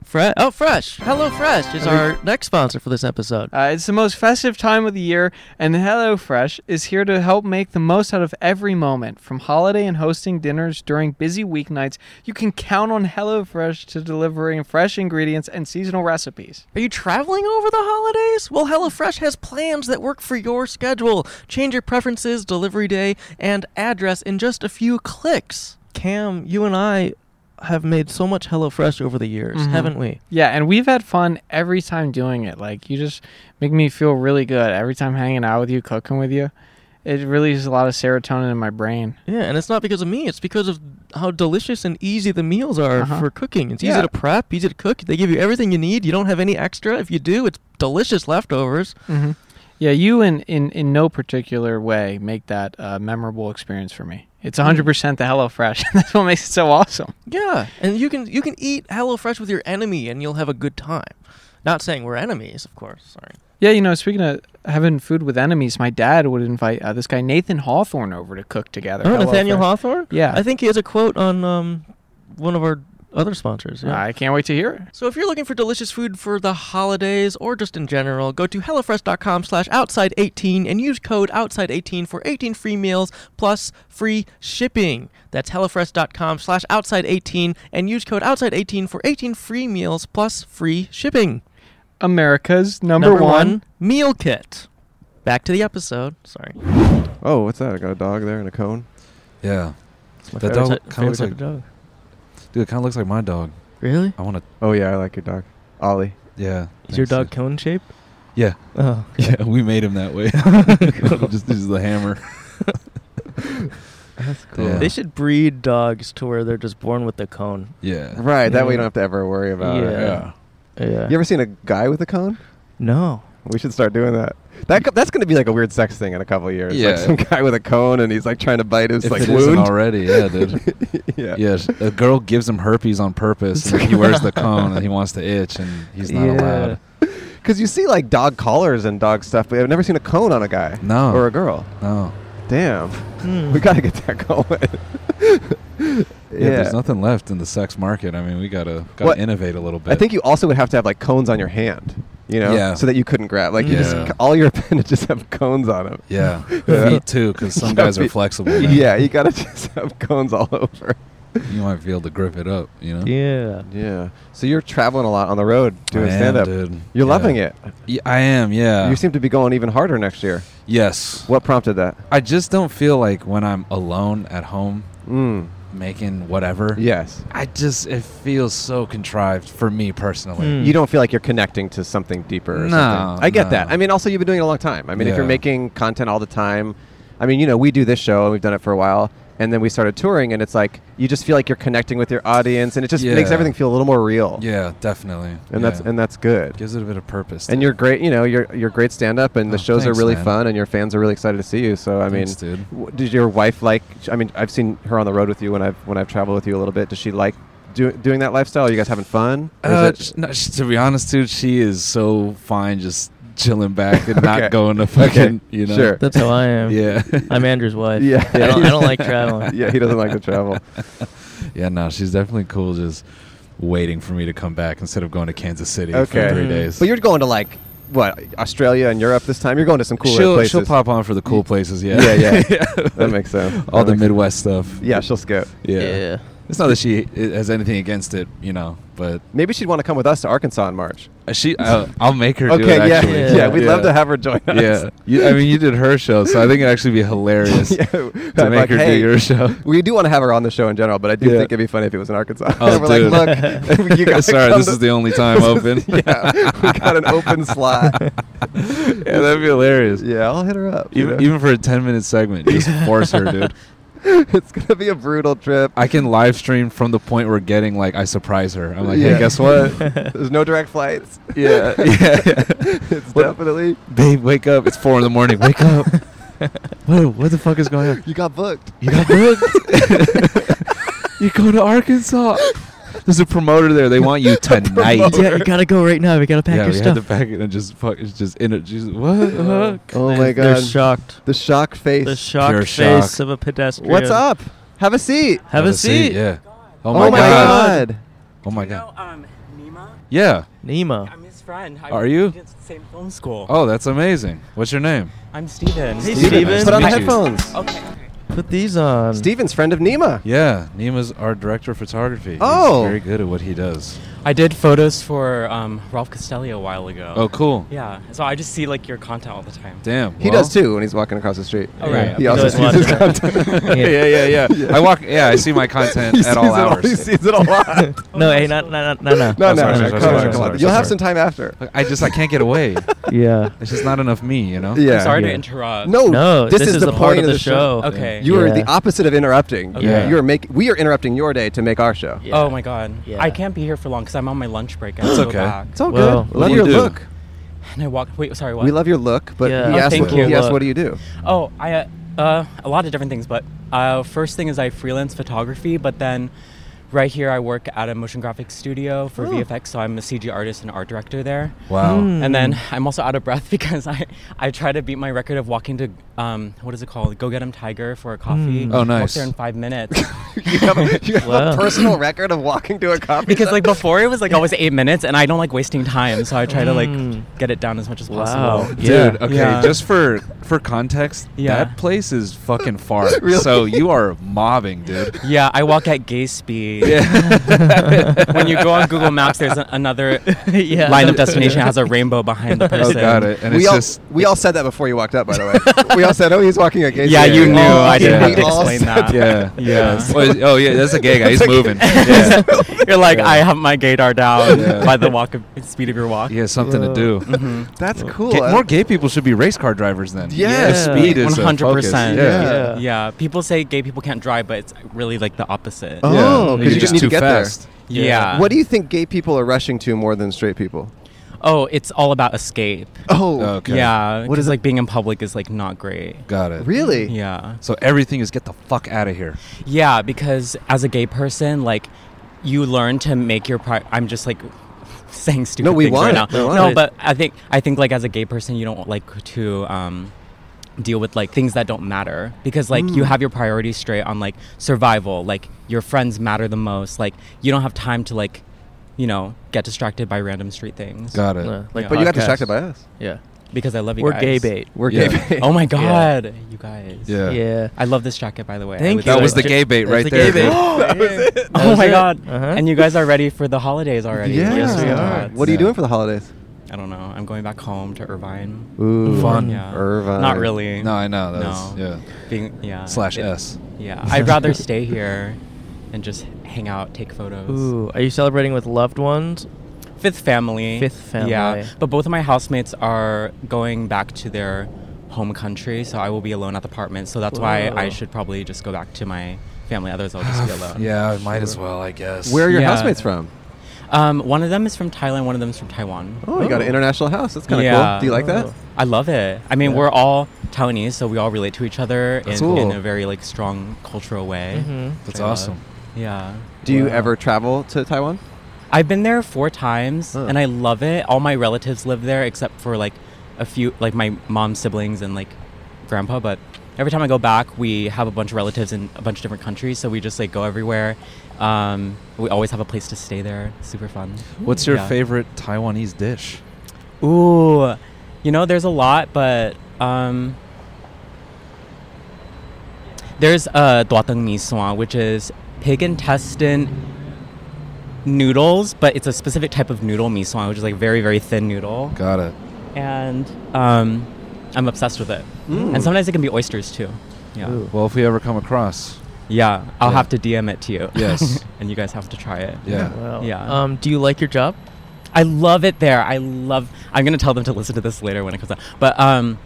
A: Fre- oh, Fresh. Hello Fresh is our next sponsor for this episode.
E: Uh, it's the most festive time of the year, and HelloFresh is here to help make the most out of every moment. From holiday and hosting dinners during busy weeknights, you can count on HelloFresh to delivering fresh ingredients and seasonal recipes.
A: Are you traveling over the holidays? Well, HelloFresh has plans that work for your schedule. Change your preferences, delivery day, and address in just a few clicks. Cam, you and I have made so much HelloFresh over the years,
E: Mhm.
A: haven't we?
E: Yeah, and we've had fun every time doing it. Like, you just make me feel really good every time hanging out with you, cooking with you. It releases a lot of serotonin in my brain.
A: Yeah, and it's not because of me, it's because of how delicious and easy the meals are
E: Uh-huh.
A: for cooking. It's
E: Yeah.
A: easy to prep, easy to cook. They give you everything you need. You don't have any extra. If you do, it's delicious leftovers.
E: Mm-hmm. Yeah, you in, in, in no particular way make that a memorable experience for me. It's 100% the HelloFresh. That's what makes it so awesome.
A: Yeah, and you can you can eat HelloFresh with your enemy and you'll have a good time. Not saying we're enemies, of course. Sorry.
E: Yeah, you know, speaking of having food with enemies, my dad would invite uh, this guy Nathan Hawthorne over to cook together.
A: Oh,
E: Hello
A: Nathaniel
E: Fresh.
A: Hawthorne?
E: Yeah.
A: I think he has a quote on um, one of our other sponsors. Yeah.
E: I can't wait to hear it.
A: So if you're looking for delicious food for the holidays or just in general, go to HelloFresh.com slash Outside18 and use code Outside18 for 18 free meals plus free shipping. That's HelloFresh.com slash Outside18 and use code Outside18 for 18 free meals plus free shipping.
E: America's number, one.
A: meal kit. Back to the episode. Sorry.
B: Oh, what's that? I got a dog there and a cone.
C: Yeah,
A: It's my
C: That
A: favorite
C: dog
A: type-
C: kinda looks
A: favorite type of dog.
C: dude, it kind of looks like my dog.
A: Really?
C: I want to.
B: Oh yeah, I like your dog, Ollie.
C: Yeah.
A: Is your
C: Oh, thanks,
A: dog
C: dude.
A: cone shaped?
C: Yeah.
A: Oh.
C: Yeah, we made him that way. Just uses the hammer.
B: That's
C: cool. Yeah.
A: They should breed dogs to where they're just born with the cone.
C: Yeah.
B: Right. That way
A: Yeah.
B: you don't have to ever worry about it.
A: Yeah. Yeah.
B: You ever seen a guy with a cone?
A: no.
B: We should start doing that. That co- that's going to be like a weird sex thing in a couple of years.
C: Yeah.
B: Like some guy with a cone and he's like trying to bite his
C: If
B: like
C: it isn't
B: wound.
C: already, yeah, dude.
B: yeah.
C: Yeah, sh- a girl gives him herpes on purpose, and then he wears the cone, and he wants to itch, and he's not
A: Yeah.
C: allowed.
B: Because you see like dog collars and dog stuff, but I've never seen a cone on a guy.
C: No.
B: Or a girl.
C: No,
B: Damn.
A: Hmm.
B: We got to get that going.
C: yeah, There's nothing left in the sex market. I mean, we gotta gotta
B: What-
C: innovate a little bit.
B: I think you also would have to have like cones on your hand, you know,
C: Yeah.
B: so that you couldn't grab. Like you
C: Yeah.
B: just, all your appendages have cones on them.
C: Yeah,
B: Yeah.
C: feet too, because some guys are
B: Feet.
C: flexible. man.
B: Yeah, you gotta just have cones all over.
C: you might be able to grip it up, you know?
A: Yeah.
B: Yeah. So you're traveling a lot on the road doing
C: I am,
B: stand up. You're
C: dude. Yeah. Uh.
B: loving it.
C: Yeah, I am, yeah.
B: you seem to be going even harder next year.
C: yes.
B: What prompted that?
C: I just don't feel like when I'm alone at home
B: Mm.
C: making whatever.
B: Yes.
C: I just it feels so contrived for me personally.
A: Mm.
B: You don't feel like you're connecting to something deeper or
C: Hmm. No,
B: something. I get
C: no.
B: that. I mean, also, you've been doing it a long time. I mean, if you're
C: Yeah.
B: making content all the time, I mean, you know, we do this show and we've done it for a while. And then we started touring, and it's like you just feel like you're connecting with your audience, and it just
C: Yeah.
B: makes everthing feel a little more real.
C: Yeah, definitely.
B: Hmm. And that's
C: Yeah.
B: and that's good.
C: gives it a bit of purpose.
B: And you're great. You know, you're you're great stand up, and the
C: Oh,
B: shows
C: thanks,
B: are really
C: man.
B: fun, and your fans are really excited to see you. So I
C: Thanks,
B: mean,
C: dude.
B: w- did your wife like? sh- I mean, I've seen her on the road with you when I've when I've traveled with you a little bit. Does she like do, doing that lifestyle? Are you guys having fun? Or is
C: Uh,
B: it-
C: sh- no, sh- to be honest, dude, she is so fine just chilling back and
B: Okay.
C: not going to fucking, you know.
B: Sure.
A: That's how I am.
C: Yeah.
A: I'm Andrew's wife.
B: Yeah.
A: I don't, I don't like traveling.
B: yeah, he doesn't like to travel.
C: yeah, no, she's definitely cool just waiting for me to come back instead of going to Kansas City
B: Okay.
C: for three
A: Mm.
C: days.
B: But you're going to like what Australia and Europe this time. You're going to some cooler
C: she'll,
B: places.
C: she'll pop on for the cool places, yeah.
B: Yeah, yeah. That makes sense.
C: All
B: That
C: the
B: makes-
C: Midwest stuff.
B: Yeah, she'll skip.
C: yeah.
A: Yeah.
C: It's not that she i- has anything against it, you know, but
B: Maybe she'd want to come with us to Arkansas in March.
C: she, uh, I'll make her do
B: Okay,
C: it.
B: yeah,
C: Actually.
B: yeah, we'd love to have her join us.
C: Yeah, you, I mean, you did her show, so I think it'd actually be hilarious
B: Yeah,
C: to
B: I'm
C: make
B: like,
C: her
B: "Hey."
C: do your show.
B: We do want to have her on the show in general, but I do
C: Yeah.
B: think it'd be funny if it was in Arkansas.
C: Oh,
B: We're
C: dude.
B: like, look, you guys.
C: Sorry, this is the only time open.
B: yeah, we got an open slot.
C: Yeah, that'd be hilarious.
B: Yeah, I'll hit her up. you
C: Even,
B: know.
C: even for a 10 minute segment, just force her, dude.
B: it's gonna be a brutal trip.
C: I can live stream from the point we're getting, like, I surprise her. I'm like,
B: Yeah.
C: hey, guess what?
B: There's no direct flights.
C: yeah, yeah, yeah.
B: it's
C: What-
B: definitely
C: Babe, wake up. It's four in the morning. Wake up. Whoa, what the fuck is going on?
B: you got booked. Oh
C: You got booked. you go to Arkansas. There's a promoter there. They want you tonight.
A: Yeah, you gotta go right now. We gotta pack
C: yeah,
A: your
C: we had
A: stuff.
C: to pack it and just fuck. It's just in it. She's what? Huh?
B: Oh my
A: They're
B: god,
A: shocked.
B: the shock face.
A: The shocked
C: Pure
A: face
C: shock.
A: of a pedestrian.
B: What's up? Have a seat.
A: Have, a seat.
C: Yeah.
B: Oh
C: Oh
B: my,
C: my, god.
B: god.
C: Oh my
F: You know,
C: god.
F: um, Nima,
C: Yeah.
A: Nemo.
F: I'm his friend. I
C: Are
F: we
C: you?
F: did the same film school.
C: Oh, that's amazing. What's your name?
F: I'm Steven. Um,
A: Hey,
C: Steven,
A: Steven.
C: nice
B: Put on the
C: meet you.
B: headphones.
F: Okay.
A: Put these on.
B: Steven's friend of Nima.
C: Yeah, Nima's our director of photography. He's
B: Oh.
C: very good at what he does.
F: I did photos for um, Ralph Castelli a while ago.
C: Oh, cool.
F: Yeah. So I just see like your content all the time.
C: Damn.
B: He
C: well-
B: does too when he's walking across the street.
F: Oh, right.
B: He
F: Yeah,
B: also
A: he's
B: sees his
A: watching.
B: content.
C: yeah, yeah, yeah, I walk. Yeah, I see my
B: He
C: content
B: sees
C: at all
B: it
C: hours.
B: He sees it a lot.
A: Oh, no, hey, not, not, not, no,
B: No,
C: Oh,
B: no, no,
C: sorry, sorry,
B: come
C: sorry,
B: on,
C: sorry,
B: come on.
C: sorry,
B: You'll have
C: sorry.
B: some time after.
C: I just I can't get away.
A: Yeah.
C: It's just not enough me, you know.
B: Yeah.
F: I'm sorry
A: yeah.
F: to interrupt.
B: No,
A: No,
B: this, is, the
A: part
B: point
A: of the show.
F: Okay.
B: You are
A: Yeah.
B: the opposite of interrupting.
F: Okay.
C: Yeah.
B: You are making. We are interrupting your day to make our show.
A: Yeah.
F: Oh my God.
A: Yeah.
F: I can't be here for long because I'm on my lunch break. I have
C: It's
F: to
C: okay.
F: Go back.
B: It's all
A: Well, what
B: good. We love
C: do you
B: your
C: do?
B: look.
F: And I walk. Wait. Sorry. What?
B: We love your look, but
A: Yeah.
B: he
A: Oh,
B: asked.
F: thank
B: What,
F: you.
B: he asked,
A: Look.
B: "What do you do?"
F: Oh, I uh, uh, a lot of different things, but uh, first thing is I freelance photography, but then right here I work at a motion graphics studio for VFX, so I'm a CG artist and art director there.
C: Wow.
A: Mm.
F: And then I'm also out of breath because I I try to beat my record of walking to um what is it called? Go get 'em tiger for a coffee.
A: Mm.
C: Oh,
F: Walked
C: nice.
F: there in five minutes
B: you have, a, you have
A: Wow.
B: a personal record of walking to a coffee
F: because
B: shop?
F: like before it was like always eight minutes, and I don't like wasting time, so I try to
A: Mm.
F: like get it down as much as
A: Wow.
F: possible.
C: Dude,
B: Yeah.
C: okay,
F: Yeah.
C: just for for context,
F: Yeah.
C: that place is fucking far.
B: Really?
C: So you are mobbing, dude.
F: Yeah, I walk at gay speed.
C: Yeah.
F: when you go on Google Maps, there's a- another
A: Yeah.
F: line of destination has a rainbow behind the
C: Oh,
F: person.
C: got it. And
B: we
C: it's
B: all
C: just
B: we all said that before you walked up. By the way, we all said, "Oh, he's walking against."
F: Yeah,
C: Yeah,
F: you
C: yeah.
F: knew.
C: Oh,
F: I didn't
C: yeah.
F: have to
C: We all
F: explain
B: said
F: that.
C: yeah,
F: Yeah.
C: Oh, is- oh yeah, that's a gay guy. He's moving. Yeah,
F: You're like, I have my gaydar down
C: Yeah.
F: by the walk of, speed of your walk. Mm-hmm.
C: he has something to do.
B: That's cool.
C: Ga-
B: I-
C: more gay people should be race car drivers then.
B: Yeah.
C: If speed is one hundred
F: 100%.
C: Yeah,
A: Yeah.
F: Yeah, people say gay people can't drive, but it's really like the opposite.
B: Oh.
C: Yeah.
B: 'cause
C: You're
B: you
C: just
B: need to
C: too
B: get there.
C: fast.
F: yeah.
B: what do you think gay people are rushing to more than straight people?
F: Oh, it's all about escape.
B: Oh,
C: Okay.
F: Yeah.
B: What
F: What
B: is
F: is
B: it-
F: like being in public is like not great.
C: got it.
B: really?
F: Yeah.
C: So everything is get the fuck out of here.
F: Yeah, because as a gay person, like you learn to make your pri I'm just like saying stupid
B: No, we
F: things
B: want
F: right
B: it. We
F: now.
B: want
F: No,
B: it.
F: but I think I think like as a gay person, you don't like to um, deal with like things that don't matter because like
B: Mm.
F: you have your priorities straight on like survival. Like your friends matter the most. Like you don't have time to like you know get distracted by random street things.
C: Got it.
A: No, like
F: Yeah.
B: But you got
A: podcasts.
B: distracted by us.
A: Yeah.
F: because I love you
A: We're
F: guys.
A: gay bait.
F: We're
C: Yeah.
F: gay bait. Oh my god, you guys.
C: Yeah.
A: Yeah.
F: I love this jacket by the way. I
A: Thank
F: would
A: you.
C: That
F: like
C: was
F: to-
C: the gay bait
A: That's
C: right
A: the gay
C: there. dude.
A: bait.
G: That was it.
A: That
F: Oh
A: was
F: my
A: it.
F: god.
A: Uh-huh.
F: And you guys are ready for the holidays already.
B: Yeah.
A: Yes, we are.
B: What are you
C: Yeah.
B: doing for the holidays?
F: I don't know. I'm going back home to Irvine.
B: Ooh,
A: Fun.
F: Yeah.
B: Irvine.
F: Not really.
C: No, I know. That was,
F: No.
C: yeah.
F: Being yeah.
C: Slash
F: It-
C: S.
F: Yeah. I'd rather stay here and just hang out, take photos.
A: Ooh, are you celebrating with loved ones?
F: Fifth family.
A: Fifth family.
F: Yeah. But both of my housemates are going back to their home country, so I will be alone at the apartment. So that's why
A: Whoa.
F: I should probably just go back to my family. Otherwise, I'll just be alone.
C: Yeah, I might as well, I guess.
B: Where are your
F: Yeah.
B: housemates from?
F: Um, one of them is from Thailand. One of them is from Taiwan.
B: Oh, you got an
A: Ooh.
B: international house. That's kind of
F: Yeah.
B: cool. Do you like that?
A: Oh.
F: I love it. I mean,
B: Yeah.
F: we're all Taiwanese, so we all relate to each other in,
B: That's
F: in
B: cool.
F: a very like strong cultural way.
A: Mhm.
C: That's
F: I love.
C: awesome.
F: Yeah.
B: Do you
A: Wow.
B: ever travel to Taiwan?
F: I've been there four times
B: Huh.
F: and I love it. All my relatives live there except for like a few, like my mom's siblings and like grandpa. But every time I go back, we have a bunch of relatives in a bunch of different countries. So we just like go everywhere. Um, we always have a place to stay there. Super fun.
C: What's your
F: Yeah.
C: favorite Taiwanese dish?
F: Ooh, you know, there's a lot, but um, there's uh, duateng mi suan, which is pig intestine noodles, but it's a specific type of noodle mi suan, which is like very, very thin noodle.
C: Got it.
F: And um, I'm obsessed with it.
C: Mm.
F: And sometimes it can be oysters too. Yeah.
A: Ooh.
C: Well, if we ever come across,
F: Yeah. I'll
C: Yeah.
F: have to DM it to you.
C: Yes.
F: and you guys have to try it.
C: yeah.
A: Wow.
F: Yeah.
A: Um, do you like your job?
F: I love it there. I love. I'm gonna tell them to listen to this later when it comes out. But um,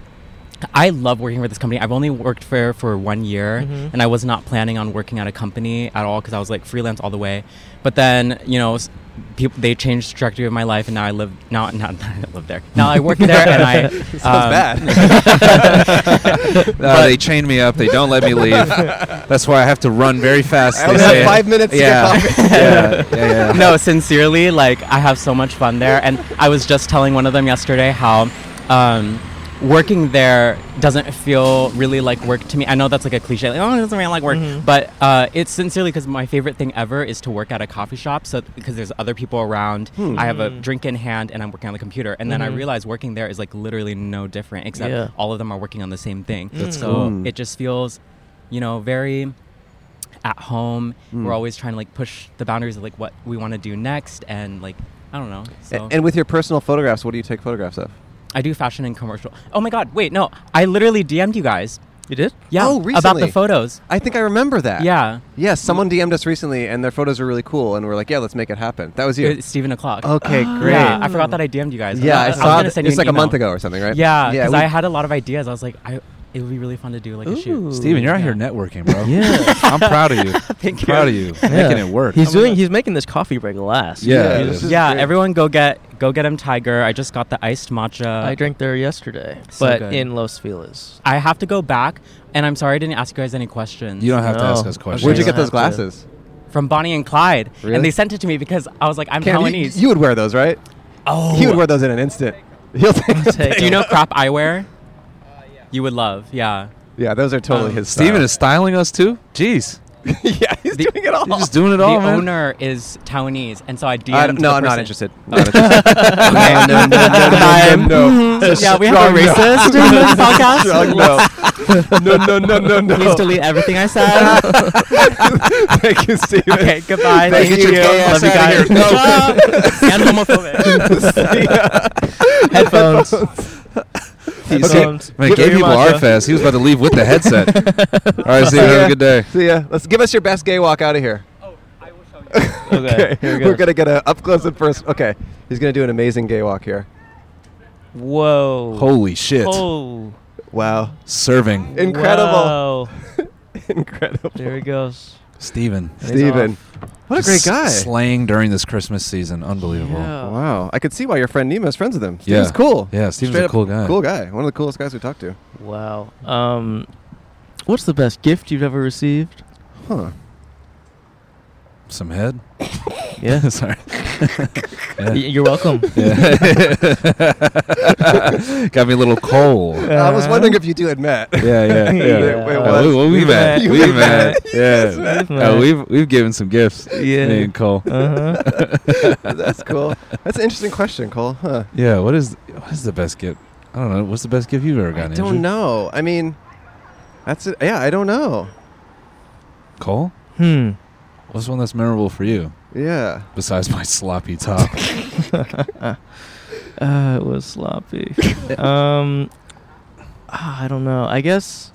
F: I love working for this company. I've only worked for for one year,
A: Mhm.
F: and I was not planning on working at a company at all because I was like freelance all the way. But then you know, s- people they changed the trajectory of my life, and now I live now now I live there. Now I work there, and I um, sounds
C: No, they chain me up. They don't let me leave. That's why I have to run very fast.
B: I
C: They
B: only have
C: say-
B: five minutes to get
C: Yeah.
B: coffee.
C: yeah, yeah, yeah.
F: no, sincerely, like I have so much fun there, and I was just telling one of them yesterday how um, working there doesn't feel really like work to me. I know that's like a cliche, like oh, it doesn't really like work,
A: Mhm.
F: but uh, it's sincerely because my favorite thing ever is to work at a coffee shop. So because there's other people around, I have a
A: Mm.
F: drink in hand, and I'm working on the computer, and then I
A: Mhm.
F: realize working there is like literally no different, except
A: Yeah.
F: all of them are working on the same thing.
A: That's
F: so
B: cool.
F: it just feels, you know, very at home. We're
B: Mm.
F: always trying to like push the boundaries of like what we want to do next, and like I don't know.
B: A-
F: So
B: And with your personal photographs, what do you take photographs of?
F: I do fashion and commercial. Oh my god! Wait, no, I literally DM'd you guys.
A: You did?
F: Yeah,
B: Oh,
F: about the
B: recently.
F: photos.
B: I think I remember that.
F: Yeah,
B: Yes, someone DM'd us recently, and their photos were really cool, and we're like, "Yeah, let's make it happen." That was you.
F: it's Stephen O'Clock.
B: okay, great.
F: Yeah, I forgot that I DM'd you guys.
B: Oh, Yeah, I
F: was
B: saw.
F: gonna
B: That.
F: send you
B: It's
F: an
B: like a month
F: email.
B: ago or something, right?
F: Yeah, because
B: we-
F: I had a lot of ideas. I was like, I it would be really fun to do like a shoot.
C: Steven, you're out here
F: Yeah.
C: networking, bro. Yeah. I'm proud of you.
F: Thank
C: I'm proud of you.
F: you.
C: Making it work.
A: He's doing. He's making this coffee break last.
C: Yeah.
B: Yeah,
C: it
B: this
C: is.
B: is-
F: Yeah,
B: great.
F: everyone, go get go get him Tiger. I just got the iced matcha.
A: I drank there yesterday,
F: uh, So
A: but
F: good.
A: in Los Feliz.
F: I have to go back, and I'm sorry I didn't ask you guys any questions.
C: You don't have to
A: No.
C: ask us
A: Okay.
C: questions.
B: Where'd you
A: Don't
B: get those
A: have to.
B: glasses?
F: from Bonnie and Clyde,
B: Really?
F: and they sent it to me because I was like, I'm
B: Cam, you,
F: Taiwanese.
B: you would wear those, right?
F: oh,
B: He would wear those in an instant. He'll take.
A: Take
F: do you know
A: them.
F: crop eyewear? yeah. You would love, yeah.
B: Yeah, those are totally
F: Um,
B: his.
C: Steven
B: style.
C: is styling us too? Jeez.
B: yeah, he's
F: The-
B: doing it all.
C: You're just doing it
F: The
C: all,
H: "Oh,
C: man.
F: owner is Taiwanese, and so I DM'd
B: I don't- no,
F: the
B: I'm not
F: person.
B: interested. Not interested.
F: Okay.
B: No, no, no, no, no, no, no.
F: Mhm. Yeah, we have a
B: Strong no.
F: racist in this podcast.
B: Strong no. no, no, no, no, no.
F: Please delete everything I said.
B: Thank you, Steven.
F: okay, goodbye.
B: Thank
F: Thank,
B: you,
F: you.
B: JS,
F: Love you
B: outta
F: guys.
B: here.
F: and homophobic.
A: Headphones.
C: Okay.
A: Headphones.
C: Man,
A: Um, Give
C: gay
A: me
C: people
A: matcha.
C: are fast. He was about to leave with the headset. All right, Steven, have a good day.
B: See ya. Let's give us your best gay walk out of here.
A: Okay, here we go.
B: We're gonna get a up close and personal. Okay, he's gonna do an amazing gay walk here.
A: Whoa.
C: Holy shit.
A: Oh.
B: Wow,
C: Serving.
B: incredible,
A: Wow.
B: incredible.
A: There he goes.
C: Steven.
A: He's
B: Steven,
A: off.
B: what a great
C: Just
B: guy.
C: Slaying during this Christmas season. Unbelievable.
A: Yeah.
B: Wow, I could see why your friend Nemo is friends with him.
C: Yeah.
B: Steven's cool.
C: Yeah, Steven's
B: Straight
C: a
B: up
C: cool guy.
B: Cool guy. One of the coolest guys we talked to.
A: Wow. Um, what's the best gift you've ever received?
B: Huh.
C: Some head.
A: Yeah.
C: Sorry.
A: Y- You're welcome.
C: Yeah. Got me a little cold.
B: I was wondering if you two had met.
C: Yeah, yeah, yeah.
A: Yeah. Wait,
C: Uh, we,
B: what?
C: well, we've
A: We've
C: met.
A: met.
C: We've
B: We've
C: met.
B: met.
C: Yeah.
A: We've
C: Uh,
A: met.
C: we've we've given some gifts.
A: Yeah.
C: Me and Cole.
A: Uh-huh.
B: That's cool. That's an interesting question, Cole. Huh.
C: Yeah. What is what is the best gift? I don't know. What's the best gift you've ever
B: I
C: gotten? Andrew?
B: don't know. I mean, that's it. Yeah, I don't know.
C: Cole,
A: Hmm.
C: what's one that's memorable for you
B: Yeah.
C: besides my sloppy top?
A: Uh, it was sloppy. um, ah, I don't know. I guess.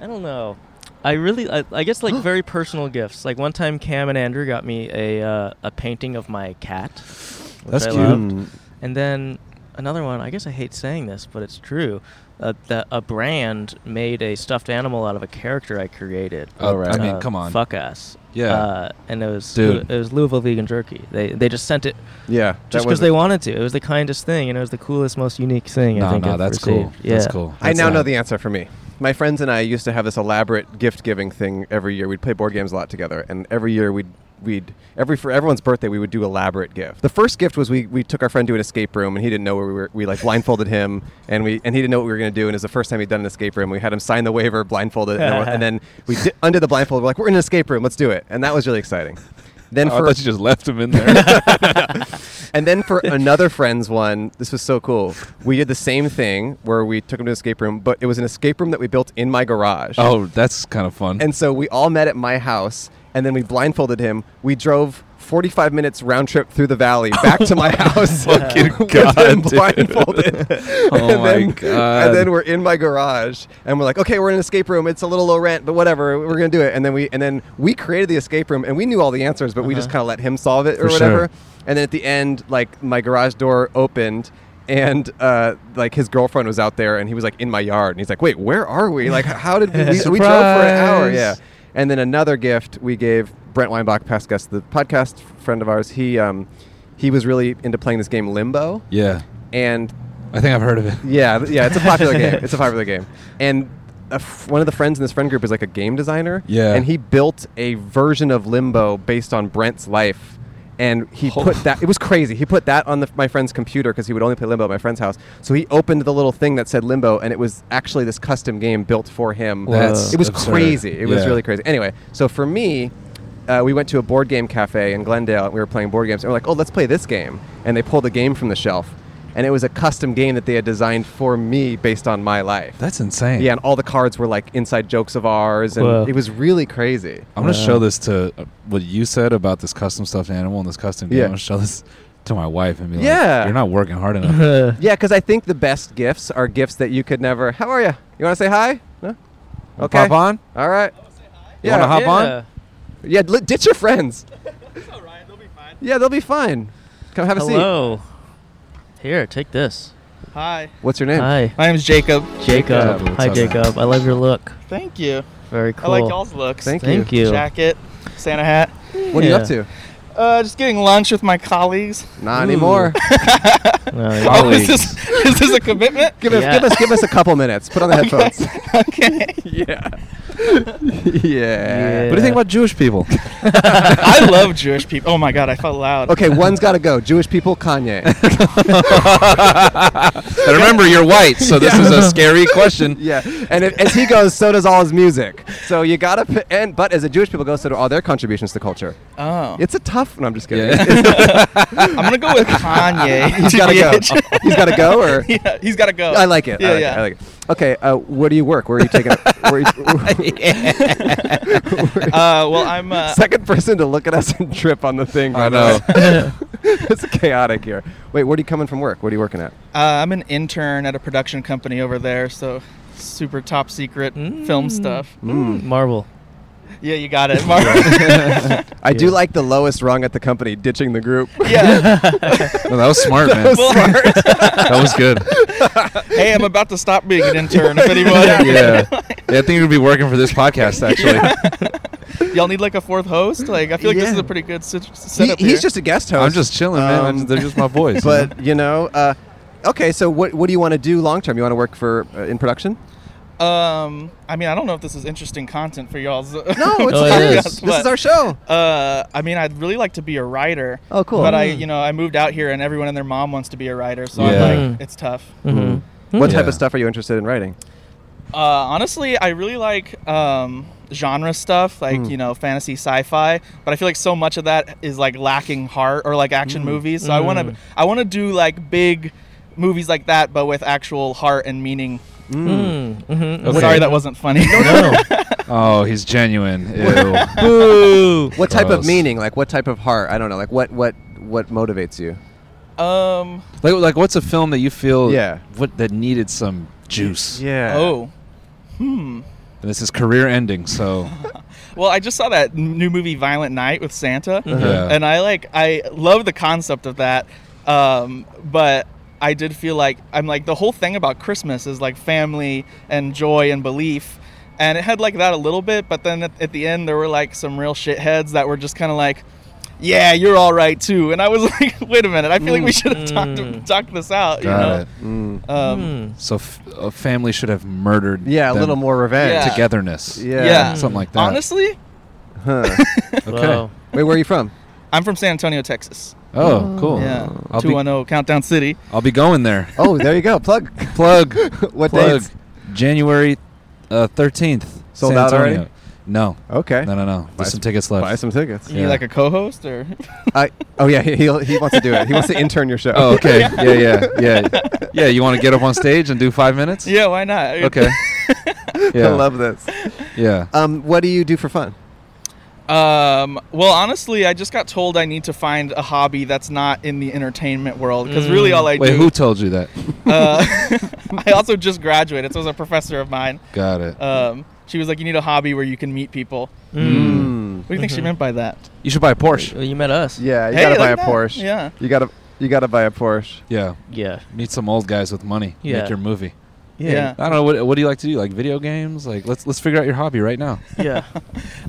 A: I don't know. I really, I, I guess, like very personal gifts. Like one time, Cam and Andrew got me a uh, a painting of my cat. which
C: That's
A: I
C: cute.
A: loved.
B: Mm.
A: And then another one. I guess I hate saying this, but it's true. Uh, that a brand made a stuffed animal out of a character I created.
C: Oh,
B: right.
C: I mean,
A: Uh,
C: come on.
A: fuck us.
C: Yeah.
A: Uh, and it was
C: Dude.
A: it was Louisville vegan jerky. They they just sent it
B: Yeah. that
A: just
B: was
A: because they
B: it.
A: wanted to. It was the kindest thing, and it was the coolest, most unique thing. I
C: No,
A: think
C: no,
A: I've
C: that's
A: received.
C: cool.
A: Yeah.
C: That's cool.
B: I
C: That's
B: now
C: not-
B: know the answer for me. My friends and I used to have this elaborate gift giving thing every year. We'd play board games a lot together, and every year we'd we'd every for everyone's birthday we would do elaborate gift. The first gift was we we took our friend to an escape room, and he didn't know where we were. We like blindfolded him, and we and he didn't know what we were going to do. And it was the first time he'd done an escape room. We had him sign the waiver blindfolded, and, then- and then we di- under the blindfold. We're like, we're in an escape room. Let's do it, and that was really exciting. Then
C: Oh, I
B: for
C: thought you just left him in there.
B: and then for another friend's one, this was so cool. We did the same thing where we took him to an escape room, but it was an escape room that we built in my garage.
C: oh, that's kind of fun.
B: And so we all met at my house, and then we blindfolded him. We drove 45 minutes round trip through the valley back to my house.
C: Fucking
B: with
C: God,
B: him
C: dude.
B: blindfolded.
C: Oh
B: and
C: my
B: then,
C: God.
B: And then we're in my garage, and we're like, okay, we're in an escape room. It's a little low rent, but whatever. We're gonna do it. And then we and then we created the escape room, and we knew all the answers, but we just kind of let him solve it or
C: Uh-huh. For
B: whatever.
C: sure.
B: And then at the end, like my garage door opened. And uh, like his girlfriend was out there, and he was like in my yard, and he's like, "Wait, where are we? Like, how did we, we drove for an hour?
C: Surprise.
B: Yeah, and then another gift we gave Brent Weinbach, past guest, the podcast friend of ours. He um, he was really into playing this game Limbo,
C: yeah,
B: and
C: I think I've heard of it.
B: yeah, th- yeah, it's a popular game. It's a popular game, and a f- one of the friends in this friend group is like a game designer.
C: Yeah.
B: and he built a version of Limbo based on Brent's life. And he
C: Oh.
B: put that. It was crazy. He put that on the, my friend's computer because he would only play Limbo at my friend's house. So he opened the little thing that said Limbo, and it was actually this custom game built for him.
C: That's
B: it was
C: absurd.
B: crazy. It was
C: Yeah.
B: really crazy. Anyway, so for me, uh, we went to a board game cafe in Glendale and we were playing board games. And we're like, oh, let's play this game. And they pulled a game from the shelf. And it was a custom game that they had designed for me based on my life.
C: That's insane.
B: yeah, and all the cards were like inside jokes of ours. And
A: Whoa.
B: it was really crazy.
C: I'm gonna show this to uh, what you said about this custom stuffed animal and this custom game.
B: Yeah.
C: I'm gonna show this to my wife and be like,
B: Yeah.
C: "You're not working hard enough."
B: Yeah, because I think the best gifts are gifts that you could never. How are you? You want to say hi? No? Okay.
C: Pop on.
B: All right.
C: You wanna hop on?
B: Yeah, li- ditch your friends. Yeah, they'll be fine. Come have a seat.
A: Hello. Here, take this.
I: Hi,
B: What's your name?
A: Hi,
I: my name's Jacob.
A: Jacob.
C: What's
A: Hi,
C: up, man?
A: Jacob. I love your look.
I: Thank you.
A: Very cool.
I: I like y'all's looks.
B: Thank
A: Thank you.
I: Jacket, Santa hat.
B: What are you
A: Yeah.
B: up to?
I: Uh, just getting lunch with my colleagues.
B: Not anymore.
A: No, you-
I: Oh, is this is this a commitment?
B: Give us,
A: Yeah.
B: give us, give us a couple minutes. Put on the headphones.
I: okay.
B: yeah.
C: What do you think about Jewish people?
I: I love Jewish people. Oh my God, I felt loud.
B: Okay, one's got to go. Jewish people, Kanye.
C: and remember, you're white, so this is a scary question.
B: yeah, and if, as he goes, so does all his music. So you gotta, p- and but as the Jewish people go, so do all their contributions to culture.
I: Oh,
B: It's a tough. No, I'm just kidding.
C: Yeah.
I: I'm gonna go with Kanye.
B: he's gotta go. he's gotta go, or
I: yeah, he's gotta go.
B: I like it.
I: Yeah,
B: I like
I: yeah.
B: it. I like it. Okay, uh, where do you work? Where are you taking? up where are you,
I: Uh, well, I'm. Uh,
B: second person to look at us and trip on the thing. by
C: I know.
B: the way. it's chaotic here. Wait, where are you coming from? Work? What are you working at?
I: uh, I'm an intern at a production company over there, so super top secret film stuff.
A: Mm, Marble.
I: Yeah, you got it, Mark.
B: I do like the lowest rung at the company ditching the group.
I: yeah.
C: No, that was smart, man.
I: Well,
C: that was good.
I: hey, I'm about to stop being an intern. If anyone,
C: Yeah. yeah, I think you'd be working for this podcast actually.
I: y'all need like a fourth host. Like, I feel like this
B: Yeah.
I: is a pretty good sit-
B: He-
I: setup.
B: he's
I: here.
B: just a guest host.
C: I'm just chilling, man. I'm
B: Um,
C: just- they're just my boys. you know?
B: but you know, uh, okay. So what what do you want to do long term? You want to work for uh, in production?
I: Um, I mean, I don't know if this is interesting content for y'all's. No,
B: it's
A: Oh, it
B: fine.
A: is.
B: This is our show.
I: Uh, I mean, I'd really like to be a writer.
B: Oh, cool.
I: But I,
B: Mm.
I: you know, I moved out here, and everyone and their mom wants to be a writer, so
C: Yeah.
I: I'm
A: Mm.
I: like, it's tough.
A: Mhm.
B: Hmm.
I: Hmm.
B: What type
C: Yeah.
B: of stuff are you interested in writing?
I: Uh, honestly, I really like um, genre stuff, like you know, fantasy, sci-fi. But I feel like so much of that is like lacking heart, or like action movies. So I want to, I want to do like big, movies like that, but with actual heart and meaning.
A: Mm, mhm,
C: Okay.
I: Sorry, that wasn't funny.
C: Oh, he's genuine. Ew.
A: Boo.
B: What type of
C: Gross.
B: meaning? Like what type of heart? I don't know. Like what what what motivates you?
I: um.
C: like, like, what's a film that you feel
B: Yeah.
C: what that needed some juice?
B: Yeah.
I: Oh.
C: And this is career ending, so
I: Well, I just saw that n- new movie Violent Night with Santa,
C: Uh-huh. Yeah.
I: and I like I love the concept of that, um, but I did feel like I'm like the whole thing about Christmas is like family and joy and belief, and it had like that a little bit, but then at, at the end there were like some real shitheads that were just kind of like. Yeah, you're all right too. And I was like, wait a minute. I feel like we should have talked talked this out. you know?
C: got it.
I: Um,
A: Mm.
C: So f- a family should have murdered.
B: Yeah, a
C: them.
B: little more revenge.
I: Yeah.
C: togetherness.
B: Yeah.
I: Yeah.
C: something like that.
I: Honestly,
B: Huh.
C: okay.
A: Wow.
B: Wait, where are you from?
I: I'm from San Antonio, Texas.
C: Oh, cool.
I: Yeah,
C: I'll
I: two
C: be
I: one zero Countdown City.
C: I'll be going there.
B: Oh, there you go. Plug.
C: Plug.
B: What
C: plug.
B: dates?
C: January uh, thirteenth.
B: Sold out already?
C: No.
B: Okay.
C: No, no, no.
B: Buy
C: There's some
B: some-
C: tickets left.
B: Buy some tickets.
I: You
C: Yeah.
I: like a co-host or?
B: I, oh yeah, he he'll- he wants to do it. He wants to intern your show.
C: Oh, okay. yeah, yeah, yeah, yeah. You want to get up on stage and do five minutes?
I: yeah, why not?
C: Okay. Yeah.
B: I love this.
C: Yeah.
B: Um, what do you do for fun?
I: Um, well, honestly, I just got told I need to find a hobby that's not in the entertainment world because really all I
C: Mm. Wait,
I: do.
C: who told you that?
I: uh, I also just graduated, so it was a professor of mine.
C: Got it.
I: Um, she was like, "You need a hobby where you can meet people."
C: Hmm.
B: Mm.
I: What do you
C: Mm-hmm.
I: think she meant by that?
C: You should buy a Porsche.
A: Well, you met us.
B: Yeah, you
I: Hey,
B: gotta
I: look
B: buy a
I: at that.
B: Porsche.
I: Yeah.
B: You gotta you gotta buy a Porsche.
C: Yeah.
A: Yeah.
C: Meet some old guys with money.
A: Yeah.
C: Make your movie.
I: Yeah.
C: I don't know. What, what do you like to do? Like video games? Like let's let's figure out your hobby right now.
A: Yeah.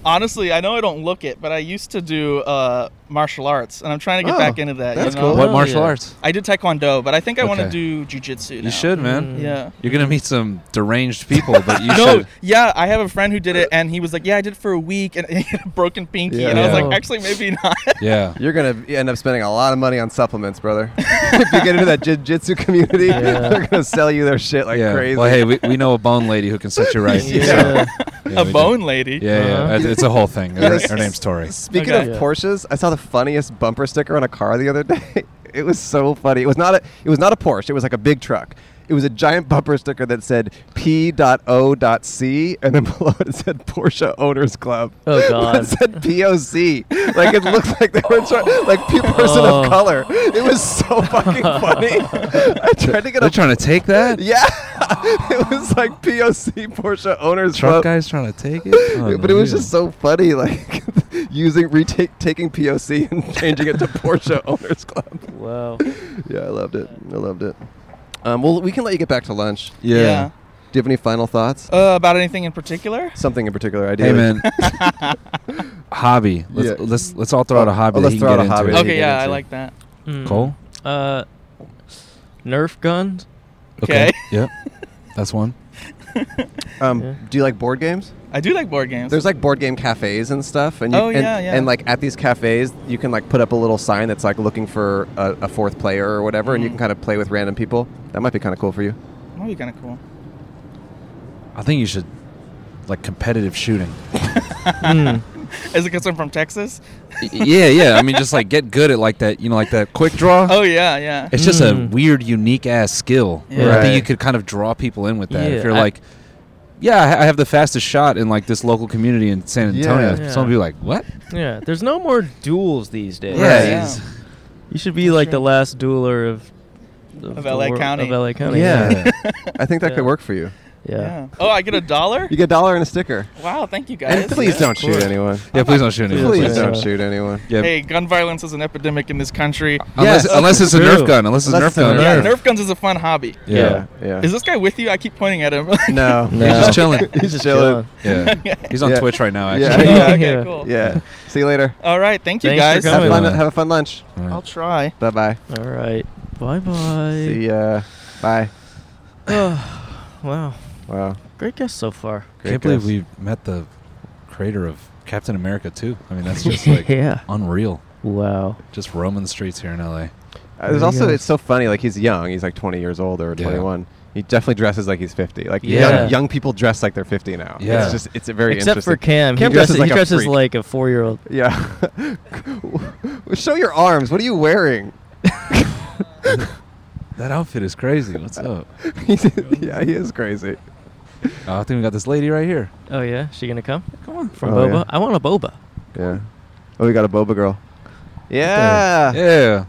I: Honestly, I know I don't look it, but I used to do uh, martial arts, and I'm trying to get
B: Oh,
I: back into that.
B: that's
I: you know?
A: cool.
C: What
A: Oh,
C: martial
A: yeah.
C: arts?
I: I did taekwondo, but I think I want to
C: Okay.
I: do jujitsu. now.
C: You should, man.
A: Mm.
I: Yeah.
C: You're gonna meet some deranged people, but you
I: No,
C: should.
I: yeah, I have a friend who did it, and he was like, "Yeah, I did it for a week, and he had a broken pinky."
B: Yeah.
I: And I was
C: Yeah.
I: like, "Actually, maybe not."
C: Yeah.
B: You're gonna end up spending a lot of money on supplements, brother. if you get into that jiu-jitsu community, they're gonna sell you their shit like
C: yeah.
B: crazy.
C: Well, hey, we, we know a bone lady who can set you right.
A: Yeah.
C: so- yeah, we
I: a
C: do.
I: bone lady.
C: Yeah, yeah.
A: Uh-huh.
C: It's- It's a whole thing. Her,
B: Yes.
C: her name's Tori.
B: Speaking of
I: Okay.
A: Yeah.
B: Porsches, I saw the funniest bumper sticker on a car the other day. It was so funny. It was not a it was not a Porsche. It was like a big truck. It was a giant bumper sticker that said P.O.C. and then below it said Porsche Owners Club.
A: Oh, God.
B: It said POC. Like it looked like they were trying, like pe- person
A: Oh.
B: of color. It was so fucking funny. I tried to get
C: They're
B: a
C: trying to take that.
B: yeah. it was like POC Porsche Owners
C: Truck
B: Club.
C: guys trying to take it. Oh,
B: Yeah, but it was just so funny, like using retake taking POC and changing it to Porsche Owners Club.
A: Wow.
B: Yeah, I loved it. I loved it. Um, well, we can let you get back to lunch. Do
C: Yeah.
I: Yeah.
B: you have any final thoughts?
I: Uh, about anything in particular?
B: Something in particular, ideally.
C: Hey man. hobby. Let's,
B: Yeah.
C: let's let's all throw out a hobby.
B: Oh,
C: that
B: let's
C: he
B: throw
C: can
B: out a
C: get into.
B: hobby.
C: That
B: you
I: Okay,
B: get
I: yeah, I
B: into?
I: like that.
A: Mm.
C: Cole.
A: Uh, Nerf guns.
I: Okay.
C: yep. That's one.
B: Um,
A: Yeah.
B: Do you like board games?
I: I do like board games.
B: There's like board game cafes and stuff, and you,
I: Oh,
B: and,
I: yeah, yeah.
B: and like at these cafes, you can like put up a little sign that's like looking for a, a fourth player or whatever, and you
I: Mhm.
B: can kind of play with random people. That might be kind of cool for you.
I: That'd be kind of cool.
C: I think you should like competitive shooting.
A: Mm.
I: Is it because I'm from Texas?
C: Y- yeah, yeah. I mean, just like get good at like that. You know, like that quick draw.
I: Oh yeah, yeah.
C: It's just a
A: Mm.
C: weird, unique ass skill.
I: Yeah.
C: I
B: Right.
C: think you could kind of draw people in with that.
A: Yeah,
C: if you're
A: I-
C: like, yeah, I ha- I have the fastest shot in like this local community in San
B: Yeah.
C: Antonio.
A: Yeah.
C: Some people are like, what?
A: Yeah. There's no more duels these days.
C: Yeah,
I: yeah.
C: he's-
A: You should be like the last dueler of.
I: Of LA
A: the wor-
I: County.
A: Of LA County.
B: Yeah.
C: yeah.
B: I think that
A: Yeah.
B: could work for you.
A: Yeah.
I: Yeah. Oh, I get a dollar.
B: You get a dollar and a sticker.
I: Wow, thank you guys.
B: And please
I: Yeah.
B: don't shoot anyone.
C: Yeah, please don't shoot anyone.
B: Please
A: Yeah.
B: don't shoot anyone.
C: Yeah.
I: Hey, gun violence is an epidemic in this country.
C: Unless,
B: Yes.
C: unless it's a
A: True.
C: Nerf gun. Unless it's a
B: Unless
C: Nerf
B: it's a
C: gun.
I: Yeah,
B: Nerf.
I: Nerf guns is a fun hobby.
C: Yeah.
B: yeah.
I: Is this guy with you? I keep pointing at him.
B: no,
A: No.
C: He's just chilling.
B: He's
A: Just
B: chilling.
A: chilling.
C: yeah. He's on
B: Yeah.
C: Twitch right now,
B: Yeah.
C: actually.
I: yeah, Oh, okay,
A: Yeah.
I: cool.
B: Yeah. See you later.
I: All right, thank you
A: Thanks for
I: guys.
B: Have
A: Coming.
B: fun.
C: Yeah.
B: Have a fun lunch.
I: I'll
C: Alright.
I: try.
B: Bye bye.
A: All right. Bye
B: See
A: bye.
B: ya. Bye.
A: Wow.
B: Wow.
A: Great guest so far.
C: Can't believe we met the creator of Captain America too. I mean, that's just like
A: yeah.
C: unreal.
A: Wow.
C: Just roaming the streets here in LA.
B: Uh, There's
A: There you
B: also
A: go.
B: it's so funny. Like he's young. He's like 20 years old or
C: Yeah.
B: 21. He definitely dresses like he's 50. Like
C: Yeah.
B: young, young people dress like they're 50 now.
C: Yeah.
B: It's just it's a very
A: Except for
B: interesting.
A: Cam.
B: Cam
A: he dresses,
B: dresses like
A: he
B: a
A: dresses
B: freak.
A: like a four year old.
B: yeah. Show your arms. What are you wearing?
C: that outfit is crazy. What's up?
B: yeah, he is crazy.
C: Oh, I think we got this lady right here.
A: Oh yeah, she gonna come? Come on. From
B: Oh,
A: boba?
B: yeah.
A: I want a boba.
B: Yeah. Oh, we got a boba girl.
C: Yeah. Yeah.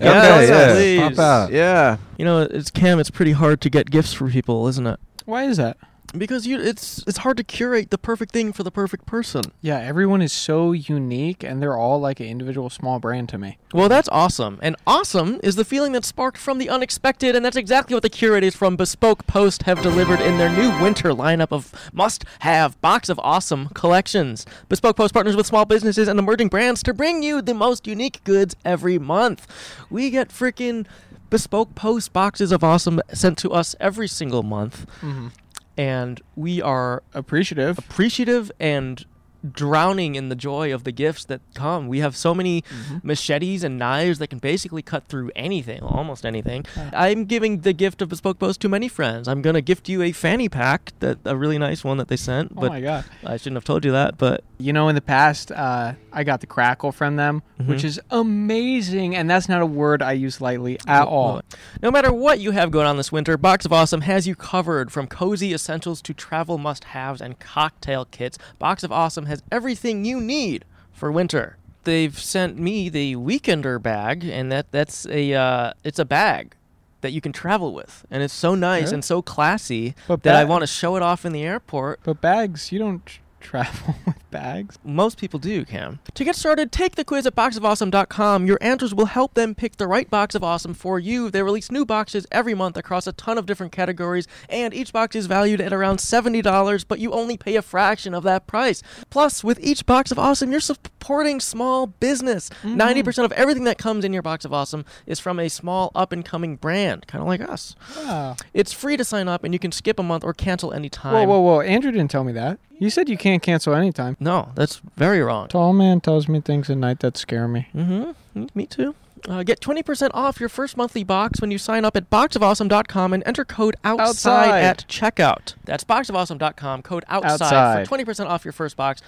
A: Yes,
C: Okay, yeah.
A: please.
C: Pop out.
B: Yeah.
A: You know, it's Cam. It's pretty hard to get gifts for people, isn't it?
E: Why is that?
A: Because you, it's it's hard to curate the perfect thing for the perfect person.
E: Yeah, everyone is so unique, and they're all like an individual small brand to me.
A: Well, that's awesome, and awesome is the feeling that's sparked from the unexpected, and that's exactly what the curators from Bespoke Post have delivered in their new winter lineup of must-have box of awesome collections. Bespoke Post partners with small businesses and emerging brands to bring you the most unique goods every month. We get freaking Bespoke Post boxes of awesome sent to us every single month,
E: Mm-hmm.
A: and we are
E: Appreciative.
A: appreciative and drowning in the joy of the gifts that come. We have so many
E: Mm-hmm.
A: machetes and knives that can basically cut through anything, almost anything. I'm giving the gift of Bespoke Post to many friends. I'm going to gift you a fanny pack, that a really nice one that they sent,
E: Oh
A: but
E: my god.
A: I shouldn't have told you that, but
E: You know, in the past, uh, I got the crackle from them, which is amazing, and that's not a word I use lightly at all.
A: No matter what you have going on this winter, Box of Awesome has you covered from cozy essentials to travel must haves and cocktail kits. Box of Awesome has everything you need for winter. They've sent me the Weekender bag, and that, that's a uh, it's a bag that you can travel with, and it's so nice and so classy
E: But
A: that I
E: that-
A: want to show it off in the airport.
E: But bags, you don't tr- travel with bags.
A: Most people do, Cam. To get started, take the quiz at boxofawesome.com. Your answers will help them pick the right box of awesome for you. They release new boxes every month across a ton of different categories, and each box is valued at around $70, but you only pay a fraction of that price. Plus, with each box of awesome, you're supporting small business.
E: Mm-hmm.
A: 90% of everything that comes in your box of awesome is from a small up and coming brand, kind of like us.
E: Wow.
A: It's free to sign up, and you can skip a month or cancel anytime.
E: Whoa, whoa, whoa. Andrew didn't tell me that. You said you can't cancel anytime.
A: No, that's very wrong.
E: Tall man tells me things at night that scare me.
A: Mm-hmm. Me too. Uh, get 20% off your first monthly box when you sign up at boxofawesome.com and enter code outside,
E: Outside.
A: at checkout. That's boxofawesome.com, code outside,
E: Outside.
A: for 20% off your first box.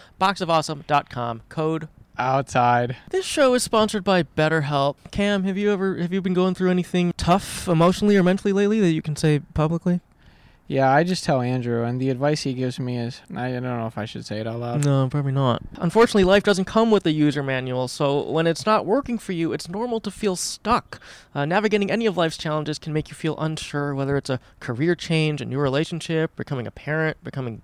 A: Boxofawesome.com, code.
E: Outside.
A: This show is sponsored by BetterHelp. Cam, have you ever have you been going through anything tough emotionally or mentally lately that you can say publicly?
E: Yeah, I just tell Andrew, and the advice he gives me is I don't know if I should say it out loud.
A: No, probably not. Unfortunately, life doesn't come with a user manual, so when it's not working for you, it's normal to feel stuck. Uh, navigating any of life's challenges can make you feel unsure, whether it's a career change, a new relationship, becoming a parent, becoming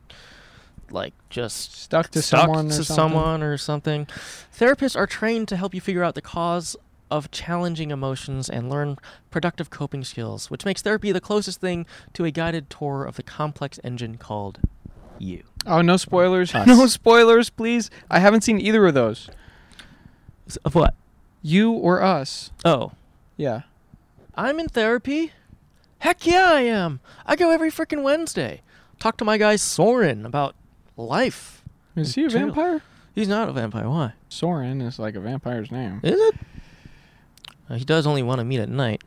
A: like just
E: Stuck to
A: stuck
E: someone. Or
A: to
E: something.
A: someone or something. Therapists are trained to help you figure out the cause of challenging emotions and learn productive coping skills, which makes therapy the closest thing to a guided tour of the complex engine called you.
E: Oh, no spoilers.
A: Us.
E: No spoilers, please. I haven't seen either of those.
A: Of what?
E: You or us.
A: Oh.
E: Yeah.
A: I'm in therapy. Heck yeah, I am. I go every freaking Wednesday. Talk to my guy Soren about life.
E: Is he a
A: Chill.
E: vampire?
A: He's not a vampire. Why?
E: Soren is like a vampire's name.
A: Is it? Uh, he does only want to meet at night.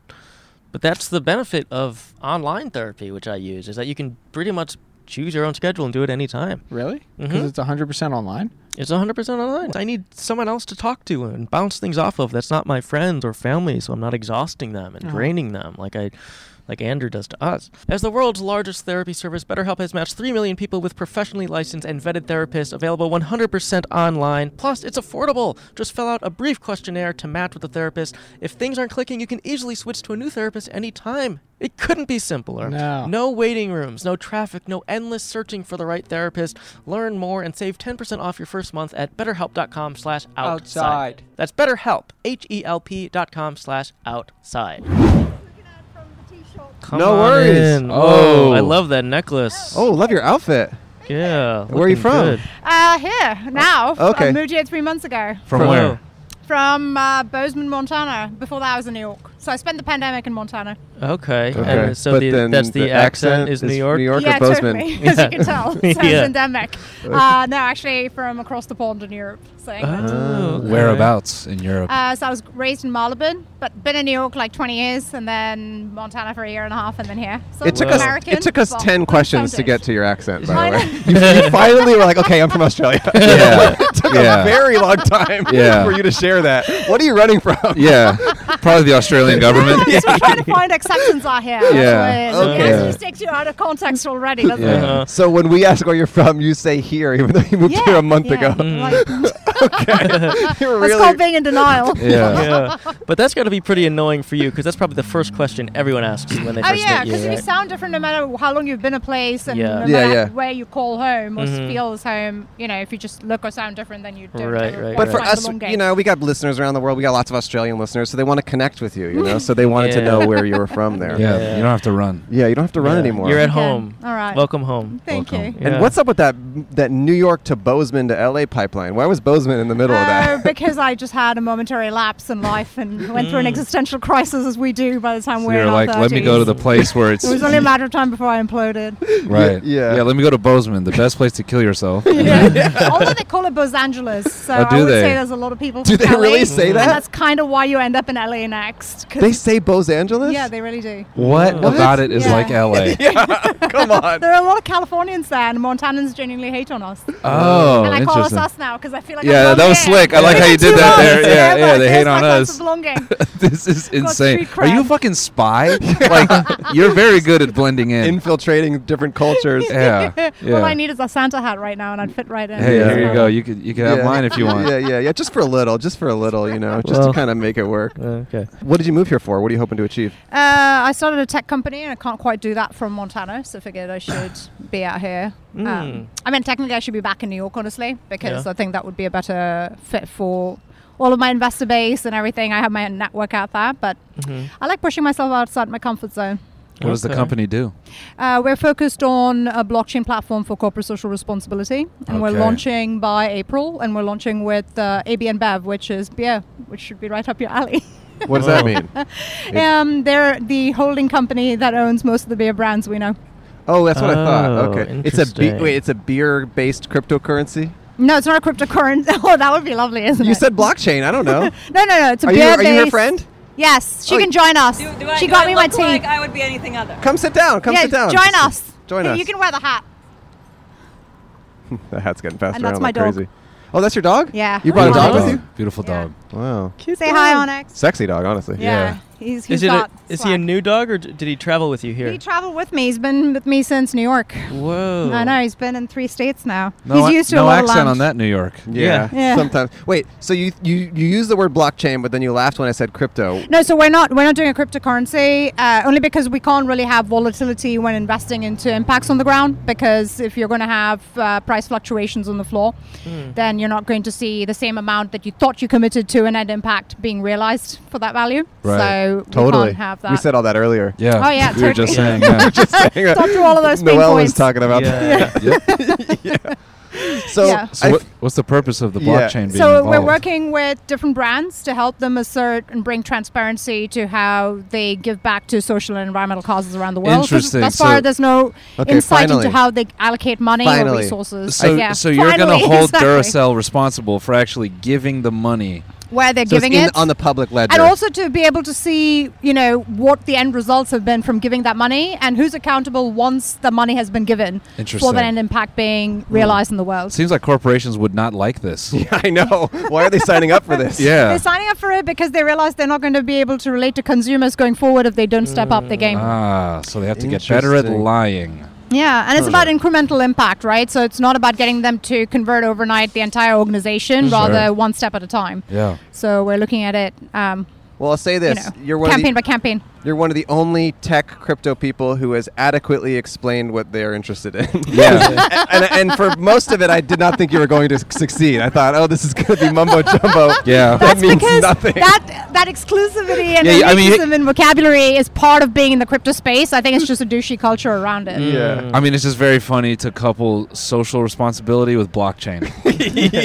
A: But that's the benefit of online therapy, which I use, is that you can pretty much choose your own schedule and do it any time.
E: Really? Because
A: Mhm.
E: it's 100% online?
A: It's 100% online. I need someone else to talk to and bounce things off of. That's not my friends or family, so I'm not exhausting them and
E: Uh-huh.
A: draining them like I like Andrew does to us. As the world's largest therapy service, BetterHelp has matched 3 million people with professionally licensed and vetted therapists available 100% online. Plus, it's affordable. Just fill out a brief questionnaire to match with a therapist. If things aren't clicking, you can easily switch to a new therapist anytime. It couldn't be simpler.
E: No.
A: No waiting rooms, no traffic, no endless searching for the right therapist. Learn more and save 10% off your first month at betterhelp.com slash outside.
E: Outside.
A: That's betterhelp, H-E-L-P dot com slash outside. Come
B: No
A: on
B: worries.
A: in.
B: Oh.
A: Whoa, I love that necklace.
B: Oh, love your outfit.
A: Yeah.
B: Where are
A: looking
B: you from?
A: good.
H: Uh, here now.
B: okay.
H: I moved here three months ago
C: From
A: From
C: where?
H: from uh, Bozeman, Montana. Before that, I was in New York. So I spent the pandemic in Montana.
A: Okay.
B: Okay.
A: And uh, so
B: But
A: the,
B: then
A: that's the, accent, is New York?
B: New York
H: yeah,
B: or Bozeman?
H: totally. As you can tell, so it's
A: Yeah.
H: endemic. Uh, no, actually, from across the pond in Europe. So,
B: Uh,
H: England.
B: Ah.
A: Oh, okay.
C: Whereabouts in Europe?
H: uh, so I was raised in Marylebone, but been in New York like 20 years, and then Montana for a year and a half, and then here. So
B: It took us.
H: American,
B: It took us
H: but
B: ten questions to
H: unfounded.
B: get to your accent. By the
H: I know.
B: way, you, you finally were like, "Okay, I'm from Australia."
C: yeah.
B: took a
C: Yeah.
B: very long time
C: Yeah.
B: for you to share that. What are you running from?
C: yeah. Probably the Australian government.
H: It's trying to find acceptance out here. That's
B: Yeah.
H: what it is.
B: Okay.
H: It actually takes you out of context already, doesn't
B: Yeah.
H: it?
A: Uh-huh.
B: So when we ask where you're from, you say here, even though you moved here a month
H: yeah.
B: ago.
H: Like,
A: Mm.
B: You were
H: That's called being in denial.
B: yeah.
A: yeah, but that's got to be pretty annoying for you because that's probably the first question everyone asks when they
H: Oh
A: first
H: yeah,
A: meet
H: because
A: you.
H: you sound different no matter how long you've been a place and
A: Yeah.
H: no
B: Yeah,
H: matter
B: yeah.
H: where you call home or s-
A: Mhm.
H: feel as home. You know, if you just look or sound different, then you don't.
A: Right,
H: ever
A: right,
H: wanna
B: But for
H: find the
B: us,
H: long game.
B: you know, we got listeners around the world. We got lots of Australian listeners, so they want to connect with you, you know? So they wanted to
A: Yeah.
B: know where you were from there.
C: yeah,
A: Yeah.
C: you don't have to run.
B: Yeah, you don't have to run
A: Yeah.
B: anymore.
A: You're at
H: Okay.
A: home.
H: All right.
A: Welcome home.
H: Thank
C: Welcome.
H: you.
B: And
A: Yeah.
B: what's up with that that New York to Bozeman to LA pipeline? Why was Bozeman in the middle of
H: Oh,
B: that?
H: because I just had a momentary lapse in life and went through an existential crisis as we do by the time
C: Mm. So
H: we're in
C: you're
H: our
C: like, let me go to
H: 30s.
C: the place where it's
H: It was only a matter of time before I imploded.
C: right.
B: Yeah.
C: yeah. Let me go to Bozeman, the best place to kill yourself.
H: Although they call it Los Angeles, so
C: Oh, do
H: I would
C: they?
H: say there's a lot of people.
B: Do
H: from
B: they
H: LA,
B: really say
H: And
B: that?
H: that's kind of why you end up in LA next. 'cause-
B: They say Bose Angeles?
H: yeah, they really do.
C: What
A: What?
C: about it is
H: Yeah.
C: like LA?
B: Come
C: Uh,
B: on.
H: There are a lot of Californians there, and Montanans genuinely hate on us.
C: Oh,
H: and I call us
C: interesting.
H: us now because I feel like I
C: yeah,
H: belong
C: that was
H: here.
C: slick. I like how you did that there.
H: Belong
C: Yeah,
H: here,
C: yeah,
H: but
C: they hate
H: here's my
C: on
H: sense
C: us.
H: of belonging.
C: this is insane.
H: street
C: Are you a
H: cred.
C: fucking spy? like you're very good at blending in.
B: Infiltrating different cultures.
C: yeah, yeah.
H: All I need is a Santa hat right now, and I'd fit right in.
C: Hey,
B: Yeah.
C: here you go. You could you could have mine if you want.
B: Yeah, yeah, yeah. Just for a little, just for a little, you know, just
A: Well.
B: to kind of make it work.
A: Okay.
B: What did you move here for? What are you hoping to achieve?
H: Uh, I started a tech company and I can't quite do that from Montana, so I figured I should be out here.
A: Mm.
H: Um, I mean, technically, I should be back in New York, honestly, because
A: Yeah.
H: I think that would be a better fit for all of my investor base and everything. I have my network out there, but
A: Mhm.
H: I like pushing myself outside my comfort zone.
C: What does the
A: Okay.
C: company do?
H: Uh, we're focused on a blockchain platform for corporate social responsibility, and
C: Okay.
H: we're launching by April, and we're launching with uh, AB and Bev, which is beer, which should be right up your alley.
B: What does that mean?
H: um, they're the holding company that owns most of the beer brands we know.
B: Oh, that's what I
A: Oh,
B: thought. Okay, it's a be-
A: interesting.
B: wait, it's a beer-based cryptocurrency.
H: No, it's not a cryptocurrency. Oh, that would be lovely, isn't it?
B: You said blockchain. I don't know.
H: no, no, no. It's a
B: are you
H: beer
B: are you her friend?
H: Yes, she
B: Oh,
H: can join us.
J: Do, do I,
H: she
J: do
H: got
J: I
H: me my
J: look
H: tea.
J: Like I would be anything other.
B: Come sit down. Come
H: yeah,
B: sit down.
H: join us.
B: Join
H: Hey,
B: us.
H: You can wear the hat.
B: the hat's getting passed
H: And
B: around
H: that's my
B: like
H: dog.
B: crazy. Oh, that's your dog.
H: Yeah.
B: You brought a
H: Beautiful
B: dog with
H: dog.
B: you.
C: Beautiful
H: Yeah.
C: dog.
B: Wow.
H: Say hi, Onyx.
B: Sexy dog, honestly.
H: Yeah, he's
A: Is
H: he's
A: it? A,
H: got.
A: is he a
H: swag.
A: new dog or d- did he travel with you
H: He
A: here?
H: traveled with me. He's been with me since New York.
A: Whoa.
H: I know he's been in three states now.
C: No,
H: he's
C: ac-
H: used to a
C: no
H: lot
C: accent
H: of
C: on that New York.
B: Yeah.
A: Yeah.
H: Yeah.
B: Sometimes. Wait. So you you you use the word blockchain, but then you laughed when I said crypto.
H: No, so we're not we're not doing a cryptocurrency uh, only because we can't really have volatility when investing into impacts on the ground because if you're going to have uh, price fluctuations on the floor,
B: Hmm.
H: then you're not going to see the same amount that you thought you committed to an end impact being realized for that value.
C: Right.
H: So we
B: Totally.
H: can't have that.
B: We said all that earlier.
C: Yeah.
H: Oh, yeah,
C: We were just saying. Yeah.
H: Talk through all of those pain
B: Noelle was
H: points.
B: talking about
A: Yeah.
B: that. So,
H: Yeah.
C: so
B: I
C: what,
B: f-
C: what's the purpose of the
B: Yeah.
C: blockchain being
H: so
C: involved?
H: we're working with different brands to help them assert and bring transparency to how they give back to social and environmental causes around the world. 'Cause
C: Interesting,
H: Thus far,
C: so-
H: there's no
B: Okay,
H: insight
B: finally.
H: into how they allocate money
B: Finally.
H: or resources.
C: So,
H: yeah.
C: so you're going
H: Finally,
C: to hold
H: exactly.
C: Duracell responsible for actually giving the money.
H: where they're
B: so it's
H: giving
B: in-
H: it
B: on the public ledger.
H: and also to be able to see, you know, what the end results have been from giving that money and who's accountable once the money has been given for
C: Interesting.
H: that end impact being realized in the world.
C: Seems like corporations would not like this.
B: I know. Why are they signing up for this?
C: yeah.
H: They're signing up for it because they realize they're not going to be able to relate to consumers going forward if they don't step up the game.
C: Ah, so they have to get better at
B: Interesting.
C: lying.
H: Yeah, and it's about incremental impact, right? So it's not about getting them to convert overnight the entire organization, rather one step at a time.
C: Yeah.
H: So we're looking at it, um,
B: Well, I'll say
H: you
B: this:
H: know,
B: you're one
H: campaign
B: of the,
H: by campaign.
B: you're one of the only tech crypto people who has adequately explained what they are interested in.
C: Yeah.
B: and, and for most of it, I did not think you were going to succeed. I thought, oh, this is going to be mumbo jumbo.
C: Yeah.
B: that
H: That's
B: means
H: because
B: nothing.
H: that that exclusivity and
C: Yeah, I mean,
H: elitism and vocabulary is part of being in the crypto space. I think it's just a douchey culture around it.
C: Mm.
B: yeah.
C: I mean, it's just very funny to couple social responsibility with blockchain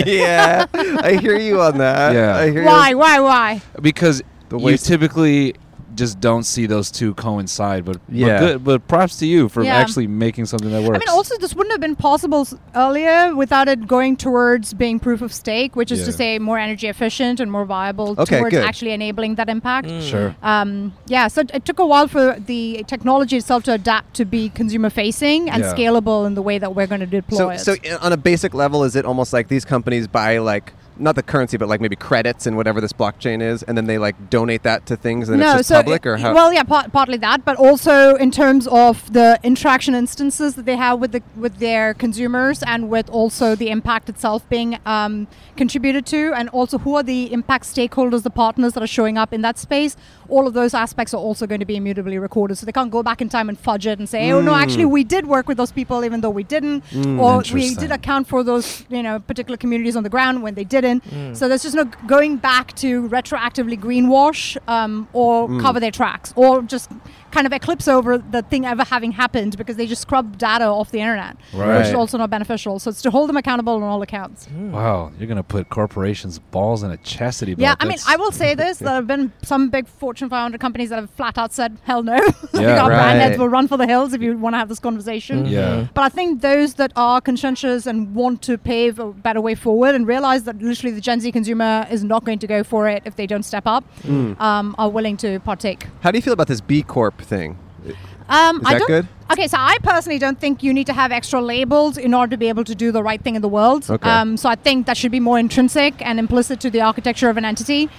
B: yeah. I hear you on that.
C: Yeah.
B: I hear
H: Why,
B: You.
H: why, why?
C: because
B: The
C: you
B: waste-
C: typically just don't see those two coincide. But
B: Yeah.
C: but, good, but props to you for
H: Yeah.
C: actually making something that works.
H: I mean, also, this wouldn't have been possible s- earlier without it going towards being proof of stake, which is to
C: Yeah.
H: say more energy efficient and more viable
B: Okay,
H: towards
B: good.
H: actually enabling that impact.
C: sure.
H: Um, yeah, so it- it took a while for the technology itself to adapt to be consumer facing and
C: Yeah.
H: scalable in the way that we're going to deploy
B: So, uh,
H: it.
B: so i- on a basic level, is it almost like these companies buy like not the currency, but like maybe credits and whatever this blockchain is, and then they like donate that to things, and it's just public, or
H: i-
B: how?
H: Well, yeah, part, partly that, but also in terms of the interaction instances that they have with the with their consumers, and with also the impact itself being um, contributed to, and also who are the impact stakeholders, the partners that are showing up in that space. All of those aspects are also going to be immutably recorded, so they can't go back in time and fudge it and say, "Oh
B: Hmm.
H: no, actually, we did work with those people, even though we didn't, or we
C: interesting.
H: did account for those you know particular communities on the ground when they didn't." So there's just no g- going back to retroactively greenwash um, or
C: Mm.
H: cover their tracks or just kind of eclipse over the thing ever having happened because they just scrub data off the internet, which
C: Right. Mm.
H: is also not beneficial. So it's to hold them accountable on all accounts.
C: Wow, you're gonna put corporations' balls in a chastity belt.
H: Yeah, I mean,
C: That's-
H: I will say this: there have been some big Fortune 500 companies that have flat out said, "Hell no, like
C: Yeah,
H: our brand
B: right.
H: heads will run for the hills if you want to have this conversation."
C: Mm. Yeah.
B: Mm-hmm.
H: But I think those that are conscientious and want to pave a better way forward and realize that literally the Gen Z consumer is not going to go for it if they don't step up, um, are willing to partake.
B: how do you feel about this B Corp thing?
H: Um,
B: Is
H: I
B: that
H: don't,
B: good?
H: Okay, so I personally don't think you need to have extra labels in order to be able to do the right thing in the world.
B: Okay.
H: Um, so I think that should be more intrinsic and implicit to the architecture of an entity.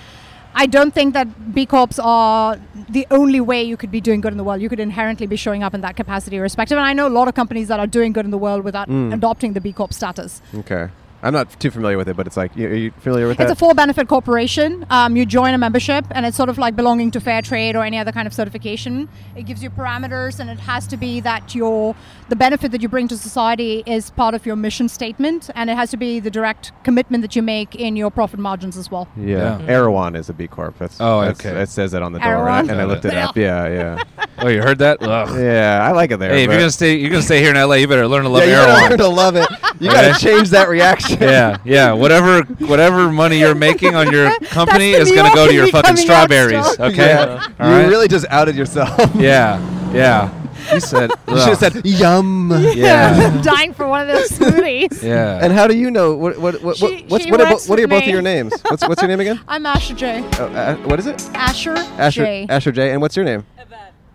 H: I don't think that B Corps are the only way you could be doing good in the world. You could inherently be showing up in that capacity, irrespective. And I know a lot of companies that are doing good in the world without
B: Mm.
H: adopting the B Corp status.
B: Okay, I'm not too familiar with it, but it's like, you- are you familiar with
H: It's a
B: that?
H: for benefit corporation. Um, you join a membership, and it's sort of like belonging to fair trade or any other kind of certification. It gives you parameters, and it has to be that your the benefit that you bring to society is part of your mission statement, and it has to be the direct commitment that you make in your profit margins as well.
B: yeah,
C: Yeah.
B: Erewhon is a B Corp. That's
C: Oh,
B: that's-
C: okay.
B: It says that on the door, and I,
H: Erewhon.
B: and I looked it up. Yeah, yeah,
C: oh, you heard that? Ugh.
B: yeah. I like it there.
C: Hey, if
B: but-
C: you're gonna stay, you're gonna stay here in LA. You better learn to love
B: yeah, you gotta
C: Erewhon.
B: learn to love it. You
C: Okay.
B: gotta change that reaction.
C: yeah, yeah. Whatever, whatever money you're making on your company
H: the
C: is
H: New
C: gonna go to
H: York
C: your
H: in me
C: fucking
H: coming out,
C: strawberries.
H: Joe.
C: Okay.
B: Yeah.
C: All
B: you
C: right?
B: really just outed yourself.
C: Yeah. Yeah. You said.
B: you should have said yum.
C: Yeah.
H: I'm dying for one of those smoothies.
C: Yeah.
B: And how do you know what what what
H: She-
B: what's,
H: she
B: what, are, bo-
H: works
B: what are
H: with
B: both of
H: me.
B: your names? What's what's your name again?
H: I'm Asher J.
B: Oh, uh, what is it?
H: Asher,
B: Asher
H: J.
B: Asher J. And what's your name?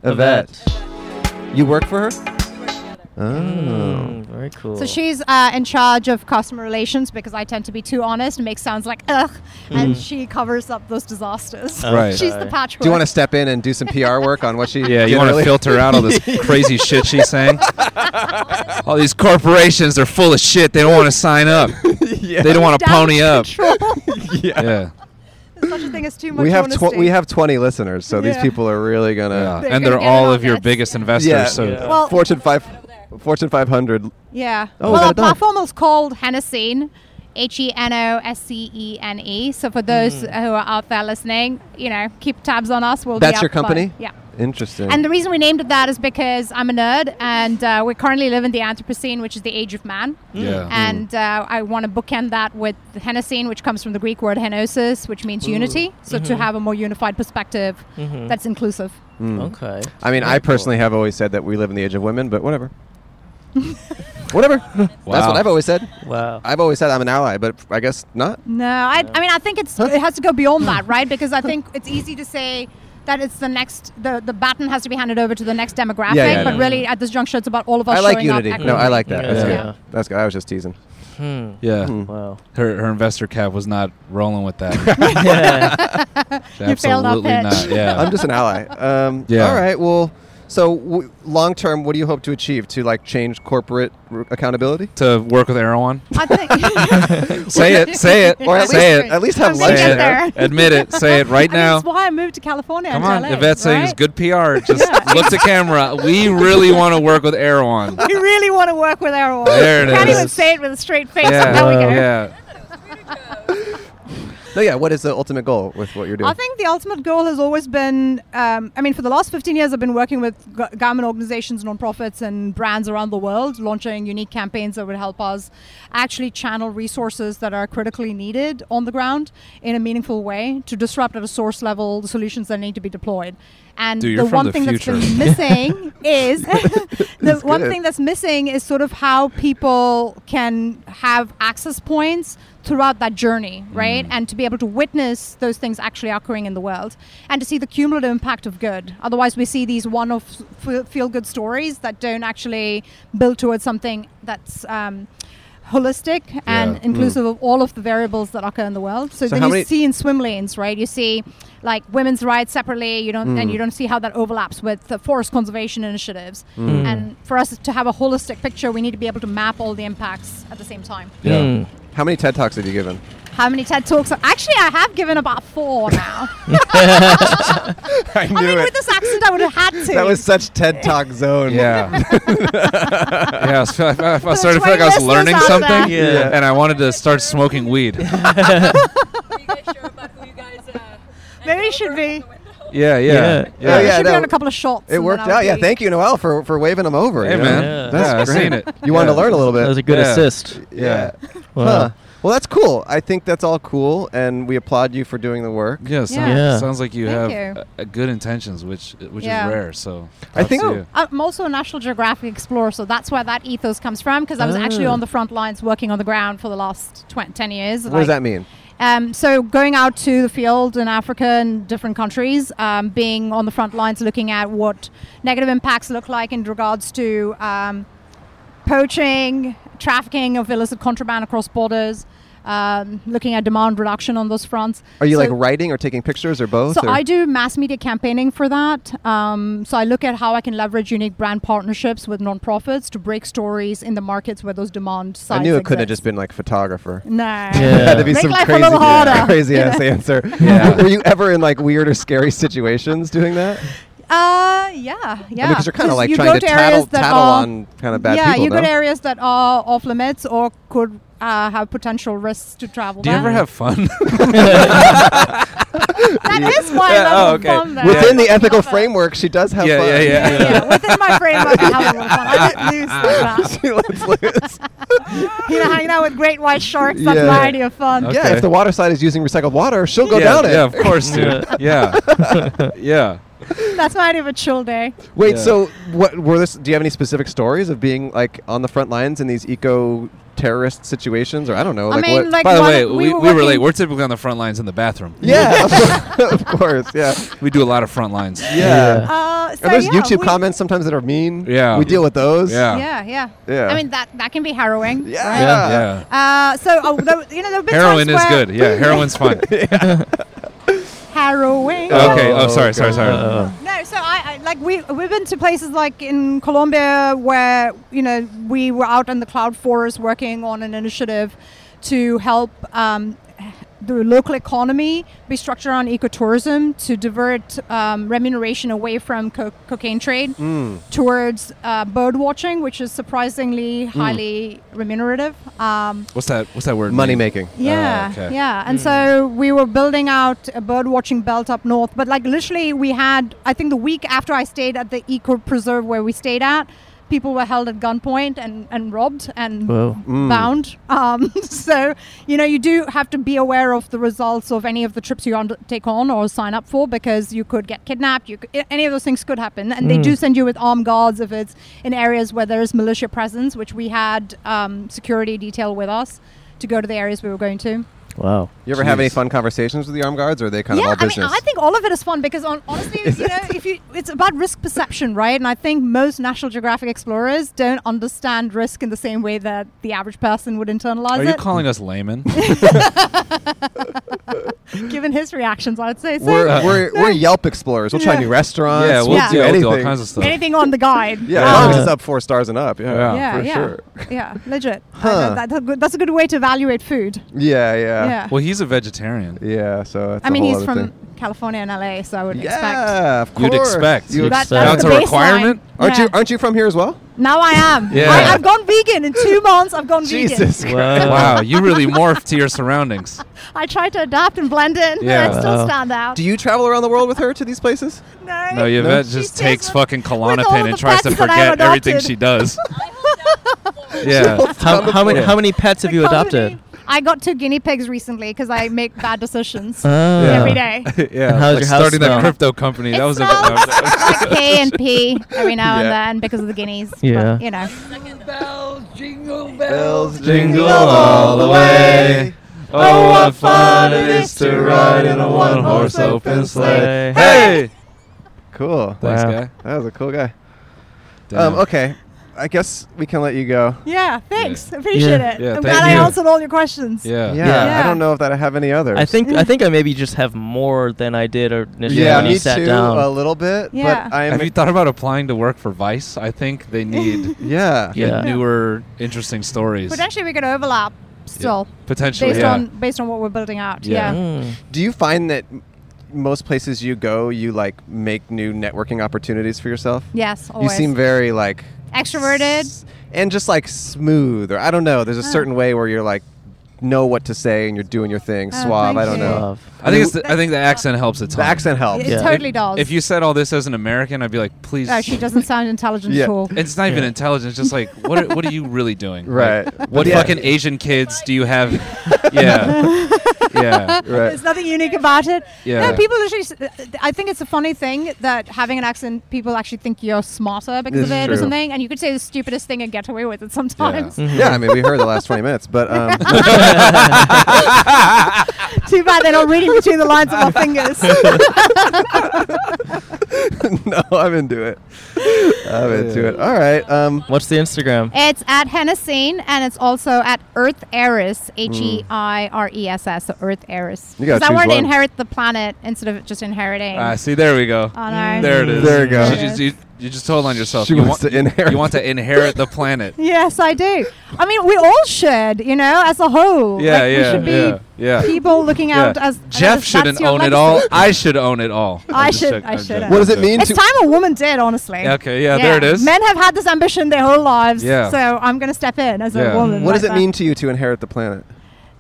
B: Yvette. You work for her? Oh.
A: Mm, very cool.
H: So she's uh, in charge of customer relations because I tend to be too honest and make sounds like ugh, and she covers up those disasters.
C: Right.
H: She's the patchwork.
B: Do you want to step in and do some PR work on what she?
C: Yeah,
B: did
C: you want to
B: earlier?
C: filter out all this crazy shit she's saying. All these corporations, they're full of shit. They don't want to sign up. They don't want to pony up. Yeah,
H: There's such a thing as too much
B: We have
H: honesty.
B: tw- we have 20 listeners, so these
H: Yeah.
B: people are really
C: yeah.
B: gonna.
H: They're
C: and they're
H: gonna get
C: all
H: it
C: of
H: on
C: your
H: us.
C: biggest investors.
B: Yeah.
C: So
A: Yeah.
H: Well-
B: Fortune five, Fortune 500.
H: Yeah.
B: Oh, we
H: well,
B: got
H: our
B: it done.
H: platform is called Hennessene, H E N O S C E N E. So for those
B: Hmm.
H: who are out there listening, you know, keep tabs on us. We'll be
B: That's
H: up
B: your
H: by-
B: company?
H: Yeah.
B: Interesting.
H: And the reason we named it that is because I'm a nerd, and uh, we currently live in the Anthropocene, which is the age of man.
B: Hmm.
C: yeah,
H: And uh, I want to bookend that with the Hennessene, which comes from the Greek word henosis, which means unity. So
B: Mm-hmm.
H: to have a more unified perspective that's inclusive.
A: okay.
B: I mean, I personally have always said that we live in the age of women, but whatever. whatever. That's
C: Wow.
B: what I've always said.
A: Wow.
B: I've always said I'm an ally, but I guess not.
H: No, I, I mean, I think it's it has to go beyond that, right? Because I think it's easy to say that it's the next, the, the baton has to be handed over to the next demographic.
B: Yeah, yeah,
H: but
B: yeah.
H: really, at this juncture, it's about all of us
B: I like
H: showing
B: unity.
H: up.
B: No, I like that.
A: Yeah.
B: That's
A: Yeah.
B: good. That's good. I was just teasing.
A: Hmm.
C: yeah.
B: Mm.
A: Wow.
C: Her her investor cap was not rolling with that.
A: yeah.
C: Absolutely
H: failed our
C: not.
H: pitch.
C: Yeah.
B: I'm just an ally. Um,
C: Yeah.
B: All right. Well, so w- long term, what do you hope to achieve to like change corporate r- accountability?
C: to work with Erewhon.
H: I think.
C: Say it. Say it.
B: Or at
C: say
B: least
C: it.
B: at least have
H: I'm
C: Say
H: gonna
B: lunch
H: get
C: it.
B: there.
H: there.
C: Admit it. Say it right
H: I mean,
C: now.
H: that's why I moved to California.
C: Come
H: and
C: on,
H: to LA,
C: Yvette's saying it's
H: right?
C: good PR. Just look to camera. We really want to work with Erewhon.
H: We really want to work with our
C: There it
H: Can't even
C: is.
H: say it with a straight face.
C: Yeah, Oh,
H: There we go.
C: yeah.
B: No, yeah. What is the ultimate goal with what you're doing?
H: I think the ultimate goal has always been um, I mean, for the last 15 years, I've been working with go- government organizations, nonprofits, and brands around the world, launching unique campaigns that would help us actually channel resources that are critically needed on the ground in a meaningful way to disrupt at a source level the solutions that need to be deployed. And
C: Dude, you're
H: the
C: from
H: one
C: the
H: thing that's
C: future.
H: been missing is the one
B: good.
H: thing that's missing is sort of how people can have access points throughout that journey, right? And to be able to witness those things actually occurring in the world and to see the cumulative impact of good. Otherwise, we see these one off feel good stories that don't actually build towards something that's. Um, holistic and
C: Yeah.
H: inclusive of all of the variables that occur in the world. So,
B: So
H: then
B: how
H: you
B: many-
H: see in swim lanes, right? You see like women's rights separately. You don't,
B: Mm.
H: and you don't see how that overlaps with the forest conservation initiatives.
B: Mm.
H: And for us to have a holistic picture, we need to be able to map all the impacts at the same time.
C: Yeah.
A: Mm.
B: How many TED Talks have you given?
H: How many TED talks? Actually, I have given about four now.
B: I knew
H: I mean, with this accent, I would have had to.
B: That was such TED Talk zone.
C: Yeah. yeah. I was- I, I, I
H: That's
C: started to feel like I
H: why
C: was
H: listeners
C: learning
H: out
C: something,
H: there.
A: Yeah.
C: and I wanted to start smoking weed.
J: uh,
H: Maybe it should be.
A: Yeah.
C: Yeah, yeah, yeah.
B: Yeah,
H: Yeah,
B: yeah,
H: should be
B: no.
H: on a couple of shots.
B: It worked out. Yeah, thank you, Noel, for, for waving them over.
C: Hey,
B: you know?
C: man.
A: Yeah.
B: That's
C: That's great.
B: great. You wanted to learn a little bit.
A: That was a good
C: Yeah.
A: assist.
B: yeah.
A: Wow.
B: Huh. Well, that's cool. I think that's all cool, and we applaud you for doing the work.
C: Yeah, sounds,
A: Yeah.
C: sounds like you
H: Thank
C: have
H: you.
C: uh, good intentions, which which
H: Yeah.
C: is rare. So
B: I think- Oh,
C: props to you.
H: I'm also a National Geographic explorer, so that's where that ethos comes from. Because I was actually
A: Ah.
H: on the front lines, working on the ground for the last tw- ten years.
B: What does that mean?
H: Um, so going out to the field in Africa and different countries, um, being on the front lines, looking at what negative impacts look like in regards to um, poaching, trafficking of illicit contraband across borders, um, looking at demand reduction on those fronts.
B: Are you like
H: So-
B: writing or taking pictures or both?
H: so
B: or?
H: I do mass media campaigning for that. Um, so I look at how I can leverage unique brand partnerships with nonprofits to break stories in the markets where those demand
B: I
H: sides.
B: knew it couldn't have
H: exist.
B: just been like photographer.
H: No.
A: Yeah.
B: Had to be
H: Make
B: some
H: life a
B: crazy,
H: little harder,
B: crazy
H: you
B: ass
H: know?
B: answer.
C: Yeah.
B: Were you ever in like weird or scary situations doing that?
H: Uh, yeah, yeah.
B: because you're kind of
H: 'Cause
B: like
H: you
B: trying
H: go
B: to tattle,
H: areas that
B: tattle
H: are-
B: on kind of bad
H: yeah,
B: people.
H: you go
B: no?
H: to areas that are off limits or could uh, have potential risks to travel.
C: Do you ever
H: down.
C: have fun?
H: That is why I
C: Oh,
H: love
C: okay.
H: fun. though.
B: Within the
H: Yeah.
B: ethical framework, she does have
C: Yeah,
B: fun.
C: yeah, yeah.
H: Yeah, yeah. Within my framework, I have a little fun. I get loose
B: she lets
H: like that.
B: loose.
H: You know, hanging out with great white sharks. That's
B: Yeah.
H: variety of fun.
C: Okay.
B: Yeah, if the water side is using recycled water, she'll go
C: yeah,
B: down it.
C: Yeah, of course, dude. yeah, yeah.
H: That's my idea of a chill day.
B: Wait,
C: Yeah.
B: so what were this? Do you have any specific stories of being like on the front lines in these eco terrorist situations, or I don't know,
H: I
B: Oh, like
H: mean,
B: what?
H: like
C: By the
H: one
C: way,
H: of-
C: we, we,
H: were working-
C: relate. We're typically on the front lines in the bathroom.
B: yeah, of course, yeah,
C: We do a lot of front lines.
B: yeah.
H: Uh, so
B: Are those
H: yeah,
B: YouTube
H: we-
B: comments sometimes that are mean?
C: Yeah.
B: we deal with those.
C: Yeah.
H: Yeah, yeah,
B: Yeah.
H: I mean that that can be harrowing.
B: yeah.
A: Yeah.
C: Yeah.
H: Uh, so uh, though, you know, there have been
C: Heroin
H: times
C: is
H: where
C: good. Yeah, heroin's fun.
H: Harrowing.
C: okay. Oh, sorry, sorry, sorry.
A: Uh,
H: No, so I, I like we we've been to places like in Colombia where you know we were out in the cloud forest working on an initiative to help um, the local economy be structured on ecotourism to divert um, remuneration away from co- cocaine trade towards uh, bird watching, which is surprisingly highly remunerative. Um,
C: What's that? What's that word?
B: Money
C: mean?
B: making.
H: yeah,
C: okay.
H: yeah. And so we were building out a bird watching belt up north. But like literally, we had I think the week after I stayed at the eco preserve where we stayed at, people were held at gunpoint and and robbed and
A: Whoa.
B: Mm.
H: bound. Um, so you know you do have to be aware of the results of any of the trips you undertake on or sign up for because you could get kidnapped. You could, a- any of those things could happen, and they do
B: Mm.
H: send you with armed guards if it's in areas where there is militia presence, which we had um, security detail with us to go to the areas we were going to.
A: Wow.
B: You ever have any
C: Jeez.
B: fun conversations with the armed guards, or are they kind of all
H: I
B: business?
H: mean, I think all of it is fun because on, honestly, you know, if you, it's about risk perception, right? And I think most National Geographic explorers don't understand risk in the same way that the average person would internalize
B: Oh,
C: Are you
H: it.
C: calling us laymen?
H: given his reactions, I would say so.
B: we're, uh, we're, we're Yelp explorers. We'll try
H: Yeah.
B: new restaurants.
C: uh, yeah, we'll,
H: Yeah.
C: Do,
B: do
C: we'll
B: anything.
C: do all kinds of stuff.
H: Anything on the guide?
B: yeah, as long as it's up four stars and up. Yeah,
C: Yeah.
H: yeah,
B: for
H: yeah,
B: sure.
H: yeah, legit. I
B: Oh. Huh.
H: know that- that's, a good, that's a good way to evaluate food.
B: Yeah, yeah,
H: Yeah,
C: Well, he's a vegetarian.
B: Yeah, So that's
H: I
B: a
H: mean,
B: whole
H: he's
B: other
H: from
B: thing.
H: California and LA, so I would expect.
B: Yeah, uh, of course.
C: You'd expect.
B: You
A: You'd
B: would-
H: That, that's
A: Now
C: it's
H: the
C: a
H: baseline.
C: requirement?
B: aren't
H: Yeah.
B: you? Aren't you from here as well?
H: now I am.
C: Yeah.
H: I, I've gone vegan in two months. I've gone vegan.
B: Jesus. Christ.
A: Wow.
C: Wow, you really morphed to your surroundings.
H: I tried to adapt and blend in,
C: Yeah.
H: and I still
A: Wow.
H: stand out.
B: Do you travel around the world with her to these places?
H: no,
C: No, Yvette
H: She
C: just
H: stays
C: takes
H: with-
C: fucking
H: with all
C: Klonopin
H: of
C: and
H: the
C: tries to
H: pets that I
C: forget everything
H: adopted.
C: she does. yeah.
A: How, how many how many pets have you adopted?
H: Company. I got two guinea pigs recently because I make bad decisions
A: Ah.
H: every day.
C: yeah.
A: how's
C: like
A: your house
C: starting that
A: smell?
C: crypto company.
H: It
C: that was a
H: smells
C: that was-
H: like K and P every now
B: Yeah.
H: and then because of the guineas.
A: Yeah.
H: But, you know.
B: Bells
C: jingle all the way. Oh, what fun it is to ride in a one-horse open sleigh. Hey!
B: Cool.
C: Thanks,
A: Wow.
C: guy.
B: That was a cool guy.
C: Damn.
B: Um, okay. I guess we can let you go.
H: Yeah, thanks. Appreciate it.
C: Yeah, thank
H: I'm glad
C: you.
H: I answered all your questions.
C: Yeah.
H: Yeah.
B: I don't know if that I have any others.
A: I think I think I maybe just have more than I did or initially
B: Yeah,
A: when you
B: me
A: sat
B: too.
A: down.
B: A little bit.
H: Yeah.
B: But I am.
C: Have you thought about applying to work for Vice? I think they need
B: yeah.
A: Yeah.
C: newer, interesting stories.
H: Potentially we could overlap still
C: Potentially,
H: based
C: yeah.
H: on based on what we're building out.
C: Yeah.
H: Yeah.
A: Mm.
B: Do you find that m- most places you go, you like make new networking opportunities for yourself?
H: Yes, always.
B: You seem very like
H: extroverted.
B: s- and just like smooth, or I don't know. There's a
H: Ah.
B: certain way where you're like know what to say and you're doing your thing.
H: Ah,
B: Suave.
H: thank
B: I don't
H: you.
B: know.
A: Love.
C: I think it's the, I think the accent helps a ton.
B: The accent helps.
H: It
A: Yeah.
H: totally
C: If-
H: does.
C: If you said all this as an American, I'd be like, please.
H: Oh, she doesn't sound intelligent
B: Yeah.
H: at all.
C: It's not even intelligent. It's just like, what are, what are you really doing?
B: Right.
C: Like, what
B: Yeah.
C: fucking Asian kids do you have? yeah. Yeah.
B: Right.
H: There's nothing unique about it.
C: Yeah.
H: No, people literally. s- I think it's a funny thing that having an accent, people actually think you're smarter
B: This
H: because of
B: is
H: it
B: true.
H: or something, and you could say the stupidest thing and get away with it sometimes.
B: Yeah, I mean, we heard the last 20 minutes, but um,
H: Too bad they're not reading between the lines of our fingers.
B: no, I'm into it. I'm into it. All right. Um,
A: What's the Instagram?
H: it's at Hennessine, and it's also at Earth Heiress, H E I R E S S, so Earth Heiress.
B: You gotta
H: Because I
B: choose
H: wanted
B: one.
H: to inherit the planet instead of just inheriting.
C: Ah, see, there we go.
H: Oh, no.
C: There it is.
B: There you go.
C: She just, you, you just told on yourself.
B: She
C: you
B: wants
C: want,
B: to inherit.
C: You want to inherit the planet.
H: Yes, I do. I mean, we all should, you know, as a whole.
C: Yeah,
H: Like, we
C: yeah,
H: should be
C: yeah, yeah.
H: people looking
C: Yeah.
H: out as
C: Jeff
H: that's
C: shouldn't
H: your
C: own it
H: legacy.
C: all. I should own it all.
H: I
C: I'm just
H: should-
C: joking.
H: I
C: I'm
H: should
C: joking.
H: own
B: what does it mean
H: It's
B: to?
H: time a woman did, honestly.
C: Okay, yeah, there it is.
H: Men have had this ambition their whole lives,
C: Yeah.
H: so I'm going to step in as
C: Yeah.
H: a woman.
B: What
H: like
B: does it
H: that.
B: mean to you to inherit the planet?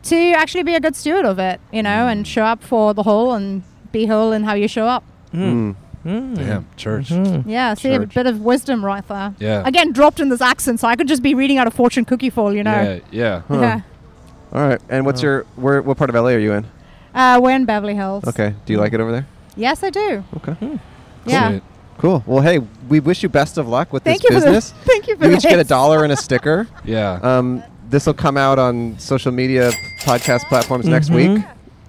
H: to actually be a good steward of it, you know, and
C: Mm.
H: show up for the whole and be whole in how you show up? Hmm.
B: Hmm.
A: Mm.
C: Damn, church.
H: Yeah, see a
C: Church.
H: bit of wisdom right there.
C: Hmm. Yeah.
H: Again, dropped in this accent, so I could just be reading out a fortune cookie for all you know.
C: Yeah, yeah.
B: Huh.
H: Yeah.
B: All right. And what's
H: Oh.
B: your where? What part of LA are you in?
H: Uh, we're in Beverly Hills.
B: Okay. Do
H: Hmm.
B: you like it over there?
H: Yes, I do.
B: Okay.
H: Yeah.
C: Sweet.
B: Cool. Well, hey, we wish you best of luck with
H: Thank
B: this
H: you
B: business.
H: for this. Thank you for
B: you
H: this.
B: each get a dollar and a sticker.
C: Yeah.
B: Um, this will come out on social media podcast platforms next week.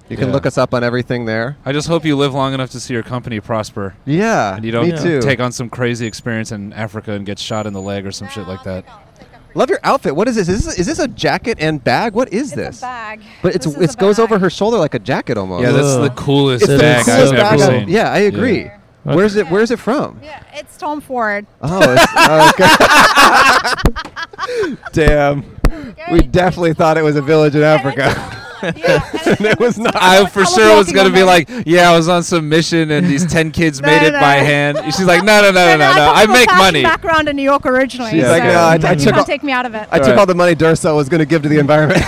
B: You can
C: Yeah.
B: look us up on everything there.
C: I just hope you live long enough to see your company prosper.
B: Yeah.
C: And you don't
B: me too.
C: take on some crazy experience in Africa and get shot in the leg or some shit like that.
B: Love your outfit. What is this? Is this, is this a jacket and bag? What is this?
H: bag.
B: But it's
H: This is
B: it
H: a
B: goes
H: bag.
B: over her shoulder like a jacket almost.
C: Yeah, that's
A: Whoa.
C: the coolest
B: it's the
C: bag
B: coolest
C: I've ever
B: bag
C: seen.
B: I've- Yeah, I agree.
C: Yeah.
B: Where's it? Where's it from?
H: Yeah, it's Tom Ford.
B: Oh, it's, oh, okay. damn. We definitely thought it was a village in Africa.
H: Yeah, and
B: it was not.
C: I for
H: Color
C: sure was
H: blocking
C: gonna
H: on
C: be like,
H: that.
C: yeah, I was on some mission and these ten kids made it
H: no.
C: by hand. She's like, no, no, no, no, no, no.
H: I come
C: I
H: from a
C: make
H: fashion
C: money.
H: Background in New York originally.
B: She's
H: so
B: like, no, I, I
H: you
B: took
H: can't
B: all,
H: take me out of it.
B: I took all the money Durso was going to give to the environment.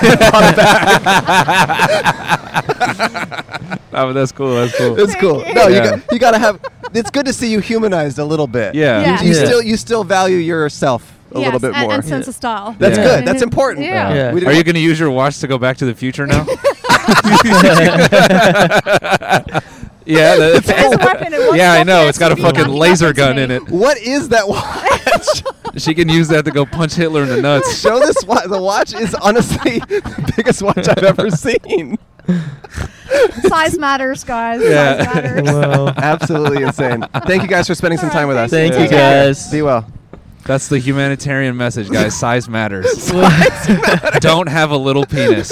C: Oh, but that's cool. That's cool.
B: it's cool.
H: you.
B: No, you
C: Yeah.
B: got, you got to have. It's good to see you humanized a little bit.
C: Yeah.
H: Yeah.
B: You, you
A: Yeah.
B: still you still value yourself a
H: yes,
B: little bit
H: and,
B: more.
H: and sense of style.
B: That's
C: Yeah.
B: good. That's important.
H: Yeah.
A: Yeah.
B: We didn't
C: Are you
B: want-
C: gonna use your watch to go back to the future now? yeah.
H: It has a
C: That,
H: weapon. It wants
C: yeah, I
H: nothing
C: know.
H: else
C: It's got
H: to
C: a
H: be
C: fucking
H: walking
C: laser
H: up to
C: gun
H: me.
C: in it.
B: What is that watch?
C: She can use that to go punch Hitler in the nuts.
B: Show this watch. The watch is honestly the biggest watch I've ever seen.
H: Size matters, guys.
C: Yeah.
H: Size matters.
A: Wow.
B: Absolutely insane. Thank you guys for spending some time with us.
A: Thank you
C: Take care.
A: guys.
B: Be well.
C: That's the humanitarian message, guys. Size matters. Don't have a little penis.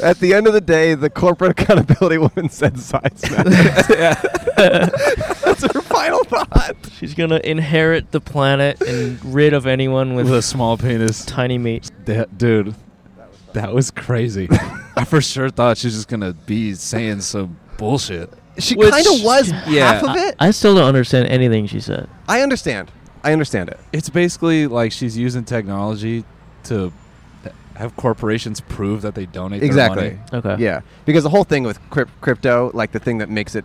B: At the end of the day, the corporate accountability woman said size matters. That's her final thought.
A: She's gonna inherit the planet and rid of anyone with
C: With a small penis.
A: tiny meat.
C: Da- dude, that was crazy. I for sure thought she was just gonna be saying some bullshit.
B: She
C: Which-
B: kind of was
C: yeah,
B: half of it.
A: I still don't understand anything she said.
B: I understand. I understand it.
C: It's basically like she's using technology to have corporations prove that they donate their
B: Exactly.
C: money.
A: Okay.
B: Yeah, because the whole thing with cryp- crypto, like the thing that makes it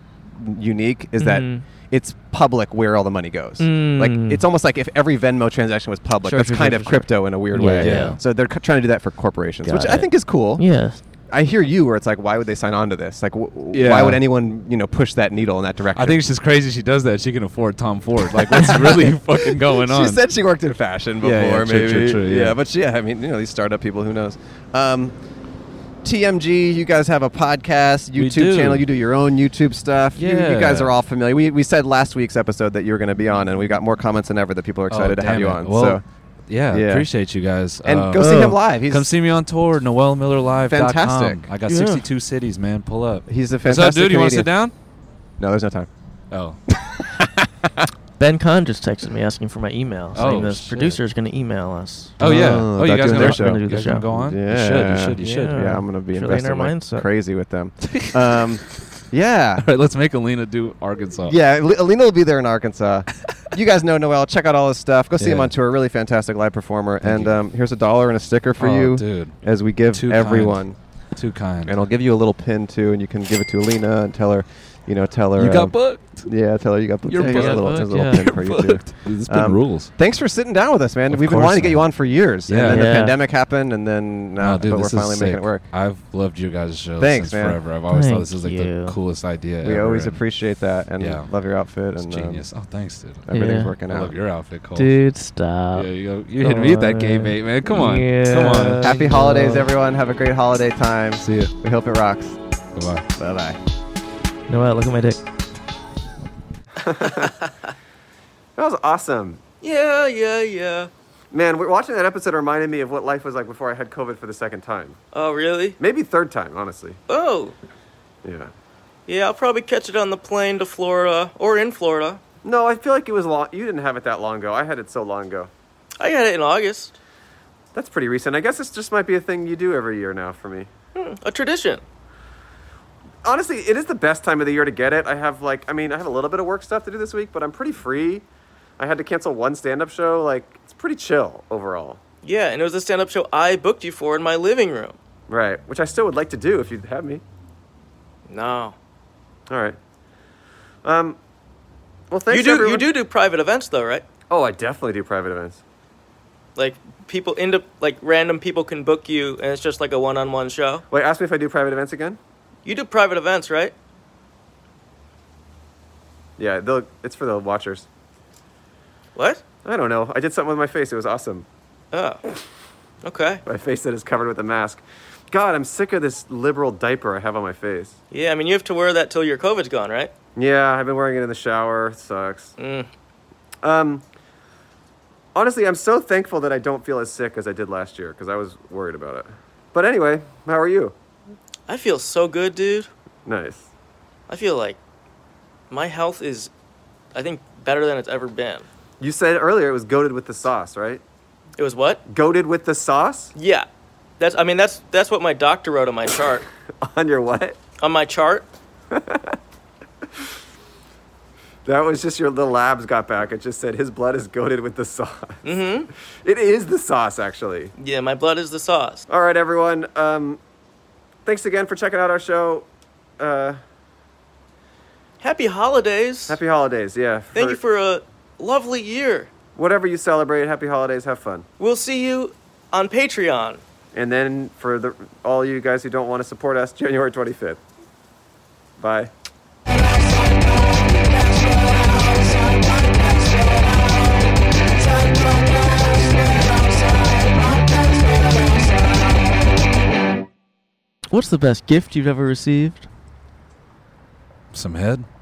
B: unique, is
A: Mhm.
B: that it's public where all the money goes.
A: Mm.
B: Like it's almost like if every Venmo transaction was public,
A: Sure,
B: that's
A: sure,
B: kind
A: sure,
B: of
A: sure,
B: crypto in a weird
A: Yeah,
B: way.
C: yeah.
B: So they're c- trying to do that for corporations, which
A: Got
B: I
A: it.
B: think is cool.
A: Yeah.
B: I hear you, where it's like, why would they sign on to this? Like, w- w-
C: Yeah.
B: why would anyone, you know, push that needle in that direction?
C: I think she's crazy. She does that. She can afford Tom Ford. Like, what's really fucking going on?
B: She said she worked in fashion before,
C: Yeah, yeah, true,
B: maybe.
C: true, true, yeah.
B: but she- yeah, I mean, you know, these startup people, who knows? Um, TMG, you guys have a podcast,
C: We
B: YouTube
C: do.
B: channel. You do your own YouTube stuff. You- You,
C: Yeah.
B: guys are all familiar. We, we said last week's episode that you were going to be on, and we got more comments than ever that people are
C: Oh,
B: excited to have
C: damn
B: you
C: it.
B: on.
C: Well,
B: so
C: yeah,
H: Yeah.
C: appreciate you guys.
H: And
C: Um,
H: go see him live. He's
C: come see me on tour, noelmillerlive.com.
H: Fantastic.
C: I got
F: Yeah.
C: 62 cities, man. Pull up.
H: He's a
C: What's up,
H: fantastic
C: dude? You want to sit
H: comedian.
C: down?
H: No, there's no time.
C: Oh,
F: Ben Kahn just texted me asking for my email, saying
C: Oh,
F: the
C: shit.
F: producer is going to email us.
C: oh yeah.
H: Oh,
C: Oh, you
H: they're
C: guys
H: doing
C: gonna,
H: their
C: you
H: show.
C: guys
F: Gonna do their
C: gonna
F: show.
C: go on? You
H: Yeah.
C: should. You should. You should.
F: Yeah.
H: Yeah, I'm gonna be
F: Should
H: invested
F: lean our
H: like
F: mindset.
H: crazy with them. um, yeah,
C: All right, let's make Alina do Arkansas.
H: yeah. Al- Alina will be there in Arkansas. you guys know Noel. Check out all his stuff. Go see him
C: Yeah.
H: on tour. Really fantastic live performer.
C: Thank
H: and
C: you.
H: um, here's a dollar and a sticker for
C: Oh,
H: you
C: dude.
H: as we give
C: Too kind.
H: everyone.
C: Too kind.
H: And I'll give you a little pin too, and you can give it to Alina and tell her, you know, tell her
C: you
H: uh,
C: got booked.
H: Yeah, tell her you got booked.
C: You're
H: Here's a
F: booked.
H: little, here's a little
F: Yeah.
H: pin for you too.
C: This
H: been Um,
C: rules.
H: Thanks for sitting down with us, man.
C: Of
H: We've been
C: course,
H: wanting to get
C: man.
H: you on for years,
C: Yeah.
H: and then the
F: Yeah.
H: pandemic happened, and then now,
C: oh, dude,
H: but
C: this
H: we're
C: is
H: finally making
C: sick.
H: it work.
C: I've loved you guys' show
H: Thanks,
C: since
H: man.
C: forever. I've always
F: Thank
C: thought this is like
F: you.
C: the coolest idea.
H: We
C: ever,
H: always
C: and
H: appreciate that, and
C: Yeah.
H: love your outfit,
C: It's
H: and um,
C: genius. oh, thanks, dude.
H: everything's
F: Yeah.
H: working
C: I
H: out.
C: love your outfit, Cole.
F: Dude, stop.
C: Yeah, you, go, you hit me at that game eight, man. Come on.
F: Yeah.
C: Come on.
H: Happy holidays, everyone. Have a great holiday time.
C: See you.
H: We hope it rocks.
C: Bye-bye.
H: Bye bye.
F: Noel, look at my dick.
B: That was awesome. Yeah, yeah, yeah. Man, we're watching that episode reminded me of what life was like before I had COVID for the second time.
A: Oh, really?
B: Maybe third time, honestly.
A: Oh,
B: Yeah.
A: yeah, I'll probably catch it on the plane to Florida or in Florida.
B: No, I feel like it was long. You didn't have it that long ago. I had it so long ago.
A: I got it in August.
B: That's pretty recent. I guess this just might be a thing you do every year now for me.
A: A tradition.
B: honestly, it is the best time of the year to get it. I have like, I mean, I have a little bit of work stuff to do this week, but I'm pretty free. I had to cancel one stand-up show. Like, it's pretty chill overall,
A: Yeah, and it was a stand up show I booked you for in my living room.
B: right? Which I still would like to do if you'd have me.
A: No.
B: All right. Um, well, thanks.
A: you do
B: everyone.
A: you do do private events though, right?
B: Oh, I definitely do private events.
A: Like people end up like random people can book you and it's just like a one-on-one show.
B: Wait, ask me if I do private events again.
A: You do private events, right?
B: Yeah, they'll, it's for the watchers.
A: What?
B: I don't know. I did something with my face. It was awesome.
A: Oh. Okay.
B: My face that is covered with a mask. God, I'm sick of this liberal diaper I have on my face.
A: Yeah, I mean you have to wear that till your COVID's gone, right? Mm.
B: Yeah, I've been wearing it in the shower. It sucks. Um, honestly, I'm so thankful that I don't feel as sick as I did last year because I was worried about it. But anyway, how are you?
A: I feel so good, dude.
B: Nice.
A: I feel like my health is I think better than it's ever been.
B: You said earlier it was goaded with the sauce, right?
A: It was what?
B: Goaded with the sauce
A: Yeah. That's I mean that's that's what my doctor wrote on my chart.
B: on your what?
A: on my chart?
B: That was just your the labs got back. It just said his blood is goaded with the sauce. Mm-hmm. It is the sauce, actually.
A: Yeah, my blood is the sauce.
B: All right, everyone. Um, thanks again for checking out our show. Uh,
A: Happy holidays.
B: happy holidays. Yeah.
A: Thank you for a lovely year.
B: whatever you celebrate. Happy holidays. Have fun.
A: We'll see you on Patreon.
B: And then for the, all you guys who don't want to support us, January 25th. Bye.
F: What's the best gift you've ever received?
C: Some head.